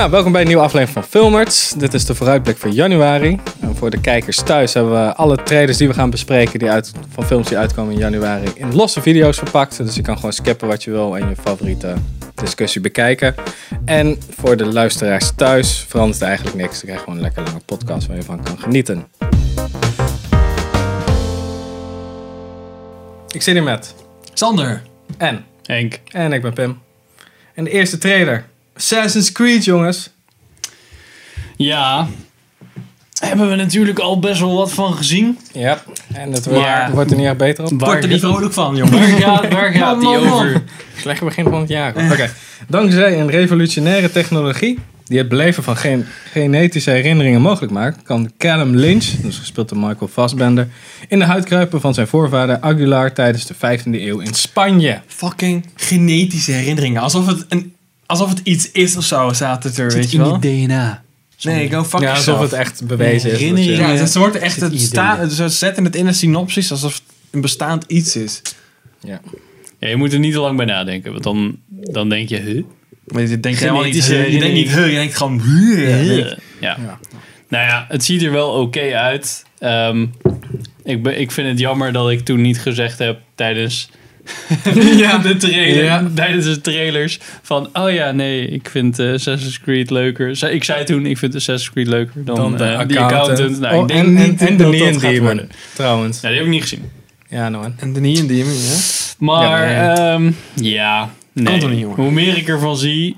Ja, welkom bij een nieuwe aflevering van Filmerts. Dit is de vooruitblik voor januari. En voor de kijkers thuis hebben we alle trailers die we gaan bespreken die uit, van films die uitkomen in januari in losse video's verpakt. Dus je kan gewoon skippen wat je wil en je favoriete discussie bekijken. En voor de luisteraars thuis verandert er eigenlijk niks. Je krijgt gewoon een lekker lange podcast waar je van kan genieten. Ik zit hier met Sander. en Henk. en ik ben Pim. En de eerste trailer. Assassin's Creed, jongens. Ja. Hebben we natuurlijk al best wel wat van gezien. Ja, en het wordt, Ja. wordt er niet echt beter op. Word er niet vrolijk van, jongen. Waar gaat, waar gaat die Man, man, man. over? Slecht begin van het jaar. hoor. Oké. Dankzij een revolutionaire technologie die het beleven van geen genetische herinneringen mogelijk maakt, kan Callum Lynch, dus gespeeld door Michael Fassbender, in de huid kruipen van zijn voorvader Aguilar tijdens de 15e eeuw in Spanje. Fucking genetische herinneringen. Alsof het, een, alsof het iets is of zo, staat het er, weet je in wel. die DNA. Nee, go fuck Ja, alsof yourself. het echt bewezen is. dat je- ja, Ja, het, ze wordt echt zit het idee staan, ze zetten het in een synopsis alsof het een bestaand iets is. Ja. Ja, je moet er niet te lang bij nadenken, want dan, dan denk je... Huh? Maar je denkt helemaal niet, Genetische huh, je denkt niet, huh, je denkt gewoon, huh. Eh, Ja. Nou ja, het ziet er wel oké uit. Ehm, ik, ben, ik vind het jammer dat ik toen niet gezegd heb tijdens Ja. de trailer, Ja. tijdens de trailers van oh ja, nee, ik vind eh, Assassin's Creed leuker. Ze- ik zei toen, ik vind Assassin's Creed leuker dan, Dan de eh, accountant. die accountant. Nou, Oh, ik denk en, niet en, en de dat dat Neon gaat Demon, worden. trouwens. Nou, die heb ik niet gezien. Ja, nou man. En de niet en die, ja. Maar Ja, ja, ja nee. toch niet, jongen? hoe meer ik ervan zie,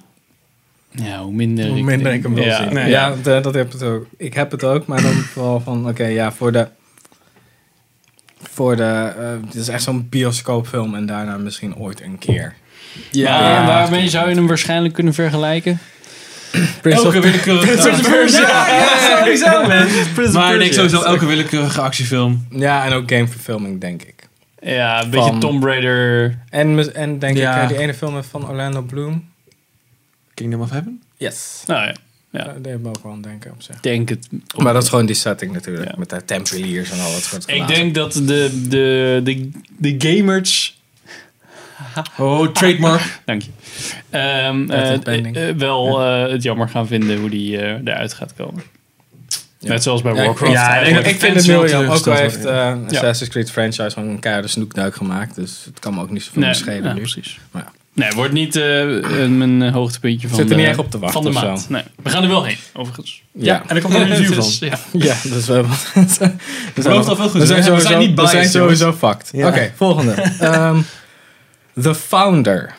ja, hoe minder, Hoe minder ik hem wil ja. zien. Nee. ja, d- dat heb ik ook. Ik heb het ook, maar dan vooral van... Oké, ja, voor de... Voor de... eh, dit is echt zo'n bioscoopfilm en daarna misschien ooit een keer. Ja, Ja. maar waarmee zou je hem waarschijnlijk kunnen vergelijken? Prince of- Elke willekeurige... Ja, sowieso, man. Maar ik denk Persia. sowieso elke willekeurige actiefilm. ja, en ook gameverfilming, denk ik. Ja, een beetje Van- Tomb Raider. En, mis- en denk Ja. ik, eh, die ene film van Orlando Bloom. Kingdom of Heaven? Yes. Nou ja, ja. Daar deed me ook wel aan denken op zich. denk het. Maar dat is gewoon die setting natuurlijk. Ja. Met de tempeliers en al dat soort Ik glazen. denk dat de, de, de, de gamers. Oh, trademark. Dank je. Ehm, Uit eh, het pending. eh, wel eh, het jammer gaan vinden hoe die eh, eruit gaat komen. Ja. Net zoals bij Ja, ik, Warcraft. ja, ik, ik eigenlijk. dat vind het fans heel wel jammer. Ook al teleurgesteld heeft eh Ja. Assassin's Creed franchise gewoon een keiharde snoekduik gemaakt. Dus het kan me ook niet zoveel Nee, meer schelen ja, nu. precies. Maar ja. Nee, wordt niet eh, een- mijn eh, hoogtepuntje van Zit er de, niet echt op te wachten van de of maand. zo. Nee, we gaan er wel heen, overigens. Ja. En er komt een review van. Dus, ja. Ja, dus we hebben... we zijn, belooft al veel goeds, we zijn, hè? We sowieso, zijn niet we zijn biased, sowieso fucked. Ja. Oké, volgende. Ehm, The Founder.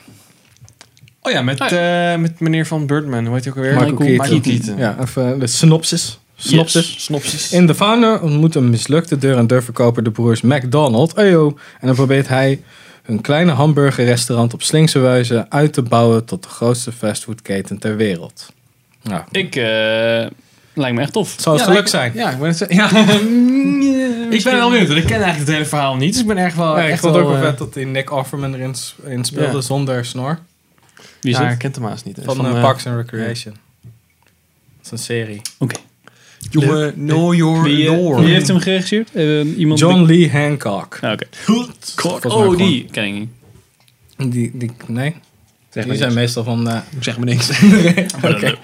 Oh ja, met, eh, met meneer van Birdman. Hoe heet hij ook alweer? Michael Keaton. Keaton. Ja, even de synopsis. Synopsis. Yes. Snopsies. In The Founder ontmoet een mislukte deur-en-deur-verkoper de broers McDonald. Ayo, en dan probeert hij hun kleine hamburgerrestaurant op slinkse wijze uit te bouwen tot de grootste fastfoodketen ter wereld. Nou, Ik eh, lijkt me echt tof. het zou het geluk zijn. Ja, ik ben het zo- ja. ik ben wel benieuwd. want Ik ken eigenlijk het hele verhaal niet. Dus ik ben echt wel... Nee, echt ik vond het ook wel eh, vet dat die Nick Offerman erin, s- in speelde Ja. zonder snor. Wie is ja, dat? ik ken hem haast niet. hè. Van, eh, eh, Parks and Recreation. Dat is een serie. Oké. Jongen, know your Wie, eh, lore. wie heeft hem geregisseerd? Eh, iemand John Lee Hancock. Ah, Oké. Volgens mij Oh, gewoon- die ken ik niet. Die, die, nee, Zeg die maar zijn niks. meestal van eh, de, Zeg maar niks. Eh, Maar dat- Oké.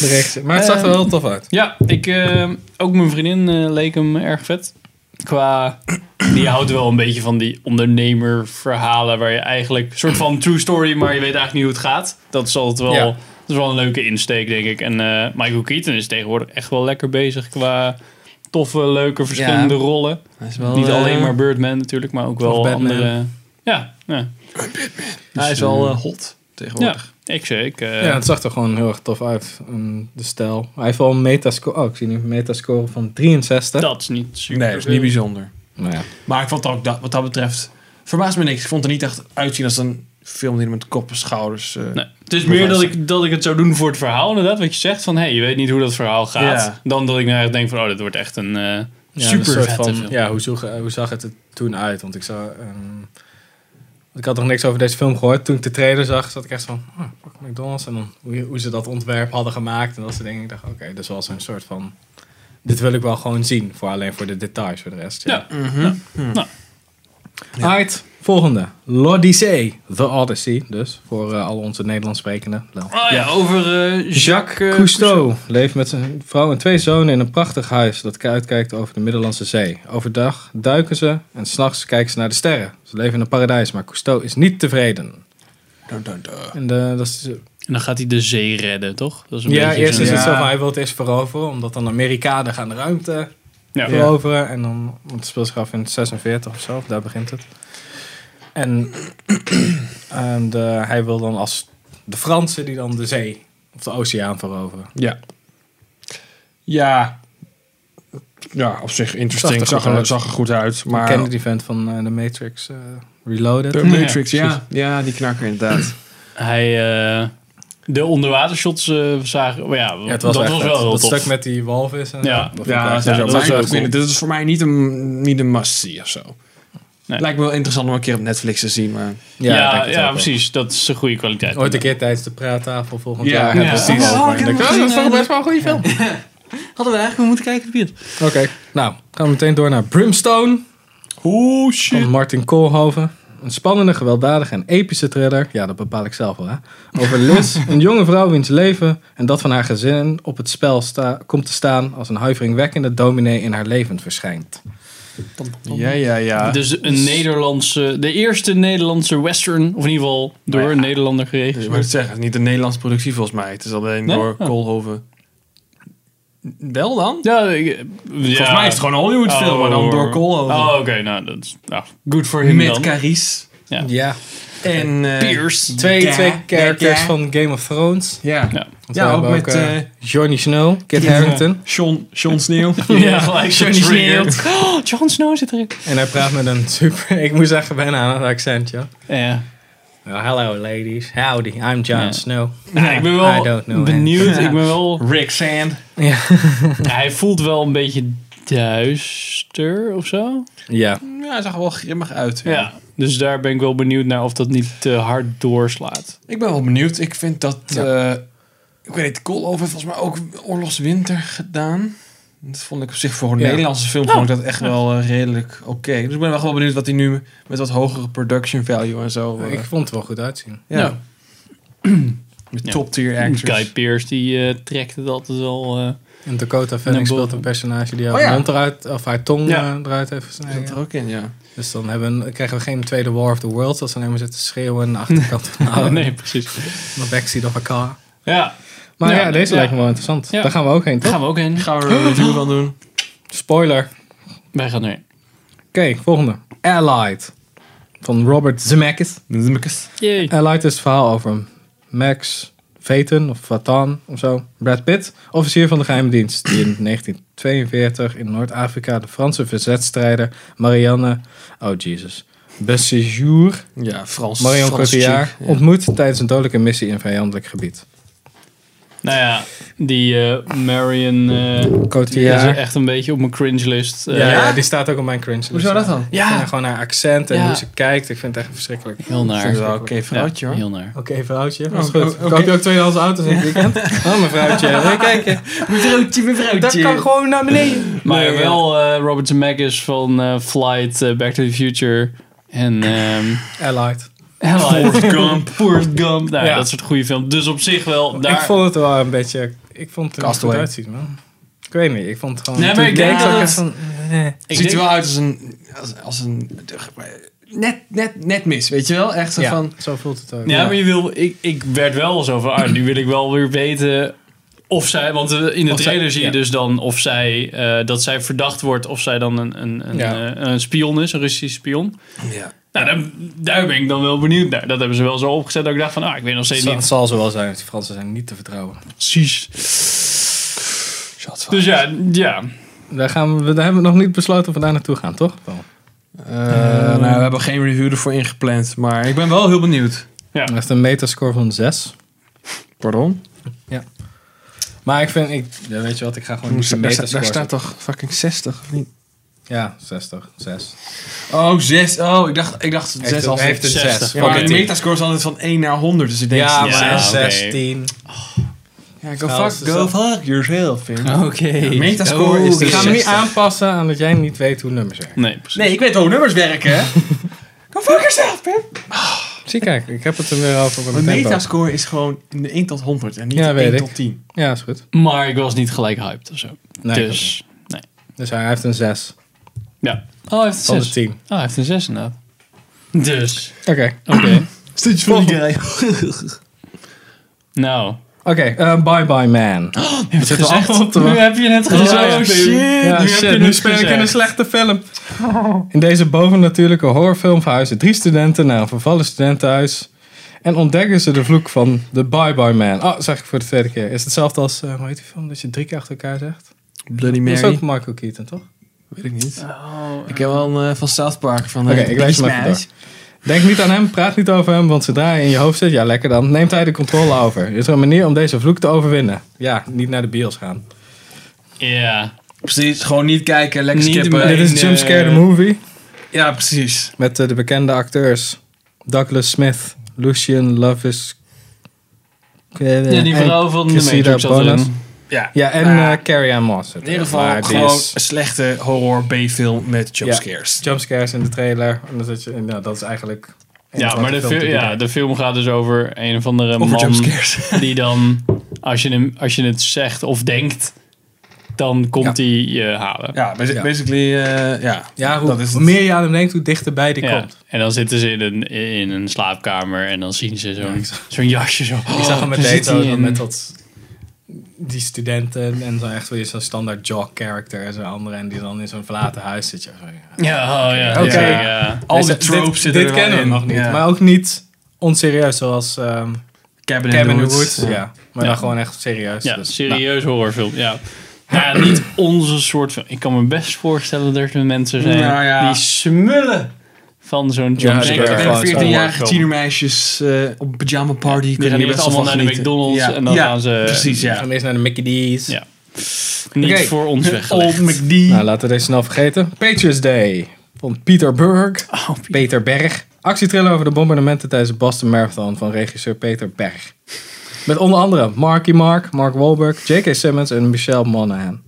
de rechtse. Maar het zag er wel tof uit. Ja, ik, eh, ook mijn vriendin eh, leek hem erg vet. Qua, die houdt wel een beetje van die ondernemerverhalen waar je eigenlijk, soort van true story, maar je weet eigenlijk niet hoe het gaat. Dat is altijd wel, Ja. dat is wel een leuke insteek, denk ik. En eh, Michael Keaton is tegenwoordig echt wel lekker bezig qua toffe, leuke, verschillende rollen. Hij is wel, niet eh, alleen maar Birdman natuurlijk, maar ook wel Of Batman. andere... Ja, ja. Hij is wel eh, hot tegenwoordig. Ja, ik zeg, ik... eh, Ja, het zag er gewoon heel erg tof uit. Ehm, de stijl. Hij heeft al een metascore. Oh, ik zie nu een metascore van 63. Dat is niet super. Nee, dat is niet bijzonder. Nou ja. Maar ik vond het ook dat, wat dat betreft... Verbaast me niks. Ik vond het er niet echt uitzien als een film die met kop en schouders... eh, Nee. Het is meer dat ik, dat ik het zou doen voor het verhaal, inderdaad. Wat je zegt van, hé, hey, je weet niet hoe dat verhaal gaat. Ja. Dan dat ik nou echt denk van, oh, dit wordt echt een eh Ja, super een soort vette van- film. Ja, hoe, zoeg- eh, hoe zag het er toen uit? Want ik zou. ehm, ik had nog niks over deze film gehoord. Toen ik de trailer zag, zat ik echt van. Oh, fuck McDonald's. En dan hoe, hoe ze dat ontwerp hadden gemaakt. En dat soort dingen. Ik dacht, oké, dus wel zo'n soort van. Dit wil ik wel gewoon zien. Voor alleen voor de details, voor de rest. Ja. Ja. Mhm. Nou, Alright, volgende. L'Odyssée. The Odyssey, dus. Voor eh, al onze Nederlands sprekenden. Wel. Oh ja, over eh, Jacques, Jacques eh, Cousteau leeft met zijn vrouw en twee zonen in een prachtig huis dat uitkijkt over de Middellandse Zee. Overdag duiken ze en s'nachts kijken ze naar de sterren. Ze leven in een paradijs, maar Cousteau is niet tevreden. Dun, dun, dun. En de, dat is, En dan gaat hij de zee redden, toch? Dat is een ja, beetje eerst zo- is het Ja. zo van hij wil het eerst veroveren, omdat dan de Amerikanen gaan de ruimte Ja. veroveren. En dan, want het speelt zich af in 46 of zo, of daar begint het. En, en de- hij wil dan als de Fransen die dan de zee of de oceaan veroveren. Ja. Ja. Ja, op zich Zag er interesting. goed Zag er, uit. zag er goed uit. Maar Maar kende die vent van eh, de Matrix eh, Reloaded. de Ja, Matrix, ja. precies. Ja, die knakker inderdaad. Hij, eh, de onderwatershots eh zagen, maar ja, Ja, het was dat echt was vet. wel heel dat tof. stuk met die walvis. En Ja. zo, dat vond ik ja, dat echt- dat is was ook wel leuk. cool. Dit is voor mij niet een, niet een must-see of zo. Nee. Lijkt me wel interessant om een keer op Netflix te zien, maar... Ja, ik ja, denk het ook wel. precies. Dat is een goede kwaliteit. Ooit een keer tijdens de praattafel volgend Ja, jaar. ja. hebben we het Ja. over. Oh, ik En heb dan- hem Oh, gezien, dat vond ik eh, best wel een goede film. Hadden we eigenlijk moeten kijken, Piet. Oké, nou gaan we meteen door naar Brimstone Oh van shit. Martin Koolhoven. Een spannende, gewelddadige en epische thriller. Ja, dat bepaal ik zelf wel, hè. Over Liz, een jonge vrouw wiens leven en dat van haar gezin op het spel sta- komt te staan als een huiveringwekkende dominee in haar levend verschijnt. Ja, ja, ja. Dus een Nederlandse, de eerste Nederlandse western, of in ieder geval door Nou ja. een Nederlander Dus ik moet geregisseerd. het zeggen, het is niet een Nederlandse productie volgens mij. Het is alleen Nee? door Oh. Koolhoven. Wel dan? Ja, ik- Volgens mij is het gewoon een Hollywood film, maar dan door Koolhoven. Oh, oké, nou dat is. Nou, Good for him Met dan. Carice. Ja. Ja, En... eh, Pierce. twee, Ja, twee ja, characters ja. van Game of Thrones. Ja. Ja. Want Ja, we ook hebben met eh, eh, Johnny Snow, Kit Harington. Sean, Sean Sneeuw. Ja, gelijk Johnny getriggerd. Oh, Jon Snow zit erin. En hij praat met een super... Ik moest zeggen bijna aan het accent, ja. Ja. Well, hello ladies. Howdy, I'm Jon Ja. Snow. Nou, ik ben I don't know, wel man. benieuwd. Ja. Ik ben wel. Rick Sand. Ja. Hij voelt wel een beetje duister of zo. ja. Ja, hij zag er wel grimmig uit. Ja. Dus daar ben ik wel benieuwd naar of dat niet te hard doorslaat. Ik ben wel benieuwd. Ik vind dat... eh, ik weet niet, Koolhoven heeft volgens mij ook Oorlogswinter gedaan. Dat vond ik op zich voor een Ja. Nederlandse film vond ik dat echt wel eh, redelijk oké. Dus ik ben wel gewoon benieuwd wat hij nu met wat hogere production value en zo... eh, Ik vond het wel goed uitzien. ja. Ja. Met Ja. top tier actors. Guy Pearce die eh, trekt het altijd wel. eh, En Dakota Fanning Naar boven. speelt een personage die haar Oh, ja. mond eruit... Of haar tong Ja. eh, eruit heeft gesneden. Zit er ook in, ja. Dus dan hebben, we- krijgen we geen tweede War of the Worlds... als ze alleen maar zitten schreeuwen aan de achterkant van de auto. Oh, nee, precies. De backseat of elkaar. Ja, Maar ja, Ja, deze ja. lijkt me wel interessant. Ja. Daar gaan we ook heen, daar toch? gaan we ook heen. Gaan we er een review van doen. Spoiler. Wij gaan erheen. Oké, volgende. Allied. Van Robert Zemeckis. Yay. Hij lijkt dus het verhaal over hem. Max Veten of Vatan of zo. Brad Pitt, officier van de geheime dienst. Die in 1942 in Noord-Afrika de Franse verzetstrijder Marianne... Oh, Jesus. Besséjour, Ja, Frans. Marion Frans Cotillard, chick, ja. ontmoet tijdens een dodelijke missie in vijandelijk gebied. Nou ja, die eh, Marion eh, die is Cotillard. echt een beetje op mijn cringe list. Ja, Eh, ja, die staat ook op mijn cringe. Hoezo dat dan? Ja. Gewoon haar accent en Ja. hoe ze kijkt. Ik vind het echt verschrikkelijk. Heel naar. Dat is wel Nou, oké vrouwtje, Ja, hoor. heel naar. Oké, vrouwtje. was Was goed. goed. Koop je ook tweedehands auto's in het weekend? Oh, mevrouwtje. Wil je kijken? eh, Mevrouwtje, mevrouwtje. Dat kan gewoon naar beneden. Maar Nee, wel eh, Robert Zemeckis van eh, Flight, eh, Back to the Future en ehm Allied. Forrest Gump. Forrest Gump. Nou, Ja. Dat soort goede films. Dus op zich wel. Daar... Ik vond het wel een beetje. Ik vond het er niet goed Castaway. uitzien, man. Ik weet niet. Ik vond het gewoon. Nee, maar toen ik denk keek, zag dat echt van, eh. Ik ziet denk- er wel uit als een. Als, als een net, net, net mis, weet je wel? Echt zo Ja, van. zo voelt het ook. Ja, maar je wil, ik, ik werd wel zo van, ah, nu wil ik wel weer weten of zij, want eh, in de Of zij- trailer zie je ja. dus dan of zij, eh, dat zij verdacht wordt of zij dan een, een, een, Ja. eh, een spion is, een Russisch spion. Ja. Nou, daar, daar ben ik dan wel benieuwd naar. Dat hebben ze wel zo opgezet dat ik dacht van, ah, ik weet nog steeds zal, niet zal zo wel zijn. Die Fransen zijn niet te vertrouwen. precies. Dus ja, ja. Daar, gaan we, daar hebben we nog niet besloten of we daar naartoe gaan, toch? Wel. nou, we hebben geen review ervoor ingepland, maar ik ben wel heel benieuwd. Hij heeft een metascore van 6. Pardon? Maar ik vind. Ik, ja, weet je wat? Ik ga gewoon niet de Daar, sta- metascore. daar staat zetten. toch fucking 60 of niet? Ja, 60. 6. Oh, 6. Oh, ik dacht, ik dacht 6 al. hij heeft een 60. 6. Ja, maar de Fuck it. metascore is altijd van 1 naar 100, dus ik denk... Ja, Ja, maar Ja, oké. 16. go Nou, fuck, is go dat- fuck yourself, Vin. Oké. metascore is Ik die ga hem niet 60. aanpassen aan dat jij niet weet hoe nummers werken. Nee, precies. Nee, ik weet hoe nummers werken. yourself, man! Zie kijk, ik heb het er weer over. op Mijn Mijn tempo. metascore is gewoon in de 1 tot 100 en niet Ja, de weet 1 ik. tot 10. Ja, is goed. Maar ik was niet gelijk hyped of zo. Nee, dus, Dus hij heeft een 6 ja. Oh, hij heeft van een de 6. 10. Oh, hij heeft een 6 inderdaad. Dus, Oké, oké. Stage van die guy. nou. oké. eh, bye bye man. Je hebt zitten allemaal op gezegd, te nu wachten. heb je het gezegd. Oh, nu ja, heb je shit, het nu speel ik gezegd. in een slechte film. In deze bovennatuurlijke horrorfilm verhuizen drie studenten naar een vervallen studentenhuis. En ontdekken ze de vloek van de Bye Bye Man. Oh, zeg ik voor de tweede keer. Is hetzelfde als, eh hoe heet die film, dat je drie keer achter elkaar zegt? Bloody Dat Mary. is ook Michael Keaton, toch? Weet ik niet. Oh, Ik heb wel een, eh, van South Park van... eh, Oké, ik lees hem even Smash. Denk niet aan hem, praat niet over hem, want zodra hij in je hoofd zit, ja lekker dan, neemt hij de controle over. Is er een manier om deze vloek te overwinnen? Ja, niet naar de bios gaan. Ja. Precies, gewoon niet kijken, lekker Niet skippen. eh, meer. Dit is nee. Jumpscare the Movie Ja, precies. met eh, de bekende acteurs Douglas Smith, Lucian Lovis. Ja, die vrouw van de Cressida Matrix zat Bonas. erin. Ja. eh, Ja, en Ah, eh, Carrie Ann Moss. in ieder geval Maar die gewoon is- een slechte horror B-film met jumpscares. Jumpscares in de trailer. En dan zit je, nou, dat is eigenlijk... een Ja, van maar de, films fil- die ja, daar- de film gaat dus over een of andere Over man jumpscares. die dan, als je, hem, als je het zegt of denkt, dan komt hij je halen. Ja, basi- Ja. basically, eh, ja. Ja, hoe, dat is hoe het. meer je aan hem denkt, hoe dichterbij die Ja. komt. En dan zitten ze in een, in een slaapkamer en dan zien ze zo'n zo'n jasje zo. Ik zag hem Oh, met daar zit Dato, hij dan in. met dat, die studenten en zo echt weer zo'n standaard jock character en zo'n andere. En die dan in zo'n verlaten huis zit. Ja, zo, ja. Ja, oh ja. Oké. ja, ja. Al die Dit- tropes dit, zitten Dit er wel kennen we in. nog niet. Ja. Maar ook niet onserieus zoals ehm Cabin, Cabin in in the Woods. Ja. Maar Ja. dan gewoon echt serieus. Ja, dus, serieus horrorfilm. Ja. Nou ja, niet onze soort film. Ik kan me best voorstellen dat er mensen zijn Nou ja. die smullen van zo'n Ja, Ik zeker. denk, ik jumpscare. denk Gewoon 14-jarige horrorfilm. tienermeisjes eh, op een pyjama party. Die gaan kunnen hier eerst best wel allemaal van naar de genieten. McDonald's Ja. en dan Ja, gaan ze Precies, nou, ja. Gaan we eerst naar de Mickey D's. Ja. niet Oké. Oh. voor ons weggelegd. Old McD. Nou, laten we deze snel vergeten. Patriots Day van Peter Berg. Oh, Piet. Peter Berg. Actietriller over de bombardementen tijdens de Boston Marathon van regisseur Peter Berg. Met onder andere Marky Mark, Mark Wahlberg, J.K. Simmons en Michelle Monaghan.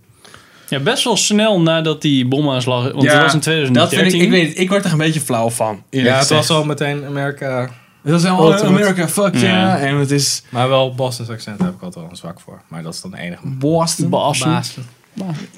Ja, best wel snel nadat die bomaanslag... Want Ja, dat was in Dat 2013. vind ik, ik weet het, ik word er een beetje flauw van. eerlijk Ja, het gezegd. was al meteen Amerika, Het was helemaal Ultimate. America, fuck ja. Oh, Ja. En het is maar wel Boston's accent daar heb ik altijd wel een zwak voor. Maar dat is dan de enige. Boston. Baasend.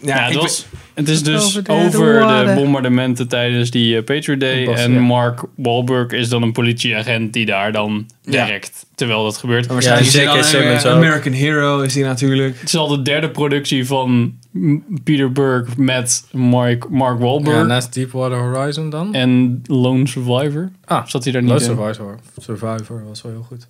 Ja, ik het, weet- was, het is dus Over over de- de, de water. bombardementen tijdens die eh, Patriot Day. Boston, en ja. Mark Wahlberg is dan een politieagent die daar dan Ja. werkt terwijl dat gebeurt. Maar waarschijnlijk Ja, is hij J.K. dan weer Simmons ook. American Hero is hij natuurlijk. Het is al de derde productie van M- Peter Berg met Mark, Mark Wahlberg Ja, nou- naast Deepwater Horizon dan. en Lone Survivor. Ah, Zat hij daar niet Lone in? Survivor. Survivor was wel heel goed.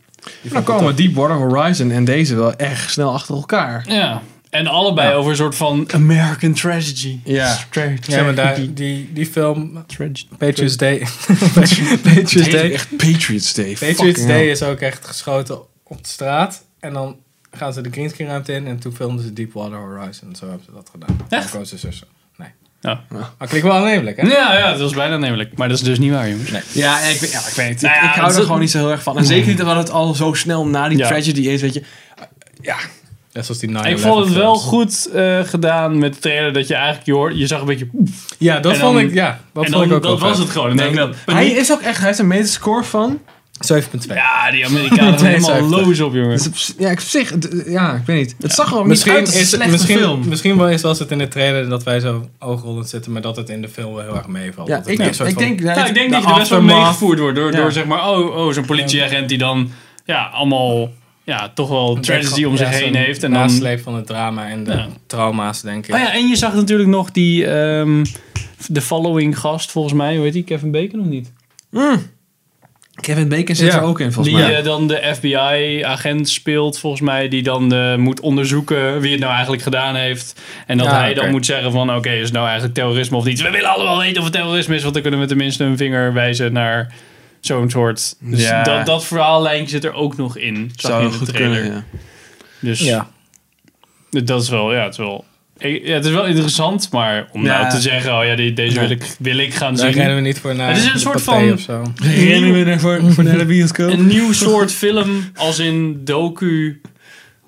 Dan komen Deepwater Horizon en deze wel echt snel achter elkaar. Ja. En allebei Ja. over een soort van American Tragedy. Ja. Tra- Ja, maar daar, tragedy. die, die film, Tragedy. Patriots Day. Patriots Het Day. heet echt Patriots Day. Patriots fucking Day hell. is ook echt geschoten op de straat. En dan gaan ze de greenscreen ruimte in. En toen filmden ze Deepwater Horizon. Zo hebben ze dat gedaan. Echt? Marco's de zussen. Nee. Oh. Maar klinkt wel aannemelijk, hè? Ja, ja, dat was bijna namelijk. Maar dat is dus niet waar, jongens. Ja, en ik, weet- ja, ik weet het. Nou ik, ja, ik hou dat- er gewoon niet zo heel erg van. En zeker niet dat het al zo snel na die Ja. tragedy is, weet je. Net zoals die 9 Ik vond het wel goed eh, gedaan met de trailer dat je eigenlijk je hoort, je zag een beetje. poef. Ja, dat En vond dan- ik, ja, dat en vond dan, ik ook dat wel was vet. het gewoon. En dan denk ik dat- Hij is ook echt, hij heeft een metascore van. 7.2. ja, die Amerikanen zijn helemaal 72. loos op, jongen. Dus op z- Ja, ik- op zich, d- ja, ik weet niet. Het zag er ook Misschien, niet uit als een is, slechte misschien, film. misschien wel eens was het in de trailer dat wij zo oogrollend zitten, maar dat het in de film wel heel erg meevalt. Ja, Dat het ik, een ik, soort van- denk... Ja, Nou, ik denk dat je er best wel aftermath. meegevoerd wordt door, Ja. door zeg maar, oh, oh zo'n politieagent die dan ja, allemaal ja, toch wel tragedy om zich Ja, heen zo'n heeft. En dan, oh nasleep van het drama en de Ja. Oh trauma's, denk ik. ja, en je zag natuurlijk nog die ehm de following gast, volgens mij, hoe heet die, Kevin Bacon of niet? Mm. Kevin Bacon zit Ja. er ook in, volgens Die mij. eh, dan de FBI-agent speelt, volgens mij, die dan eh, moet onderzoeken wie het nou eigenlijk gedaan heeft. En dat Ah, hij oké. dan moet zeggen van, oké, is het nou eigenlijk terrorisme of niet? We willen allemaal weten of het terrorisme is, want dan kunnen we tenminste een vinger wijzen naar zo'n soort. Dus Ja. dat, dat verhaallijntje zit er ook nog in, zag je in de trailer. ja. Dus Ja. dat is wel, ja, het is wel... ik- Ja, het is wel interessant, maar om Ja. nou te zeggen, oh ja, die, deze Nee. wil ik, wil ik gaan Daar zien. rennen we niet voor naar Het is een de soort pathé van- of zo. Rennen we ervoor voor naar de bioscoop? een nieuw soort film als in docu.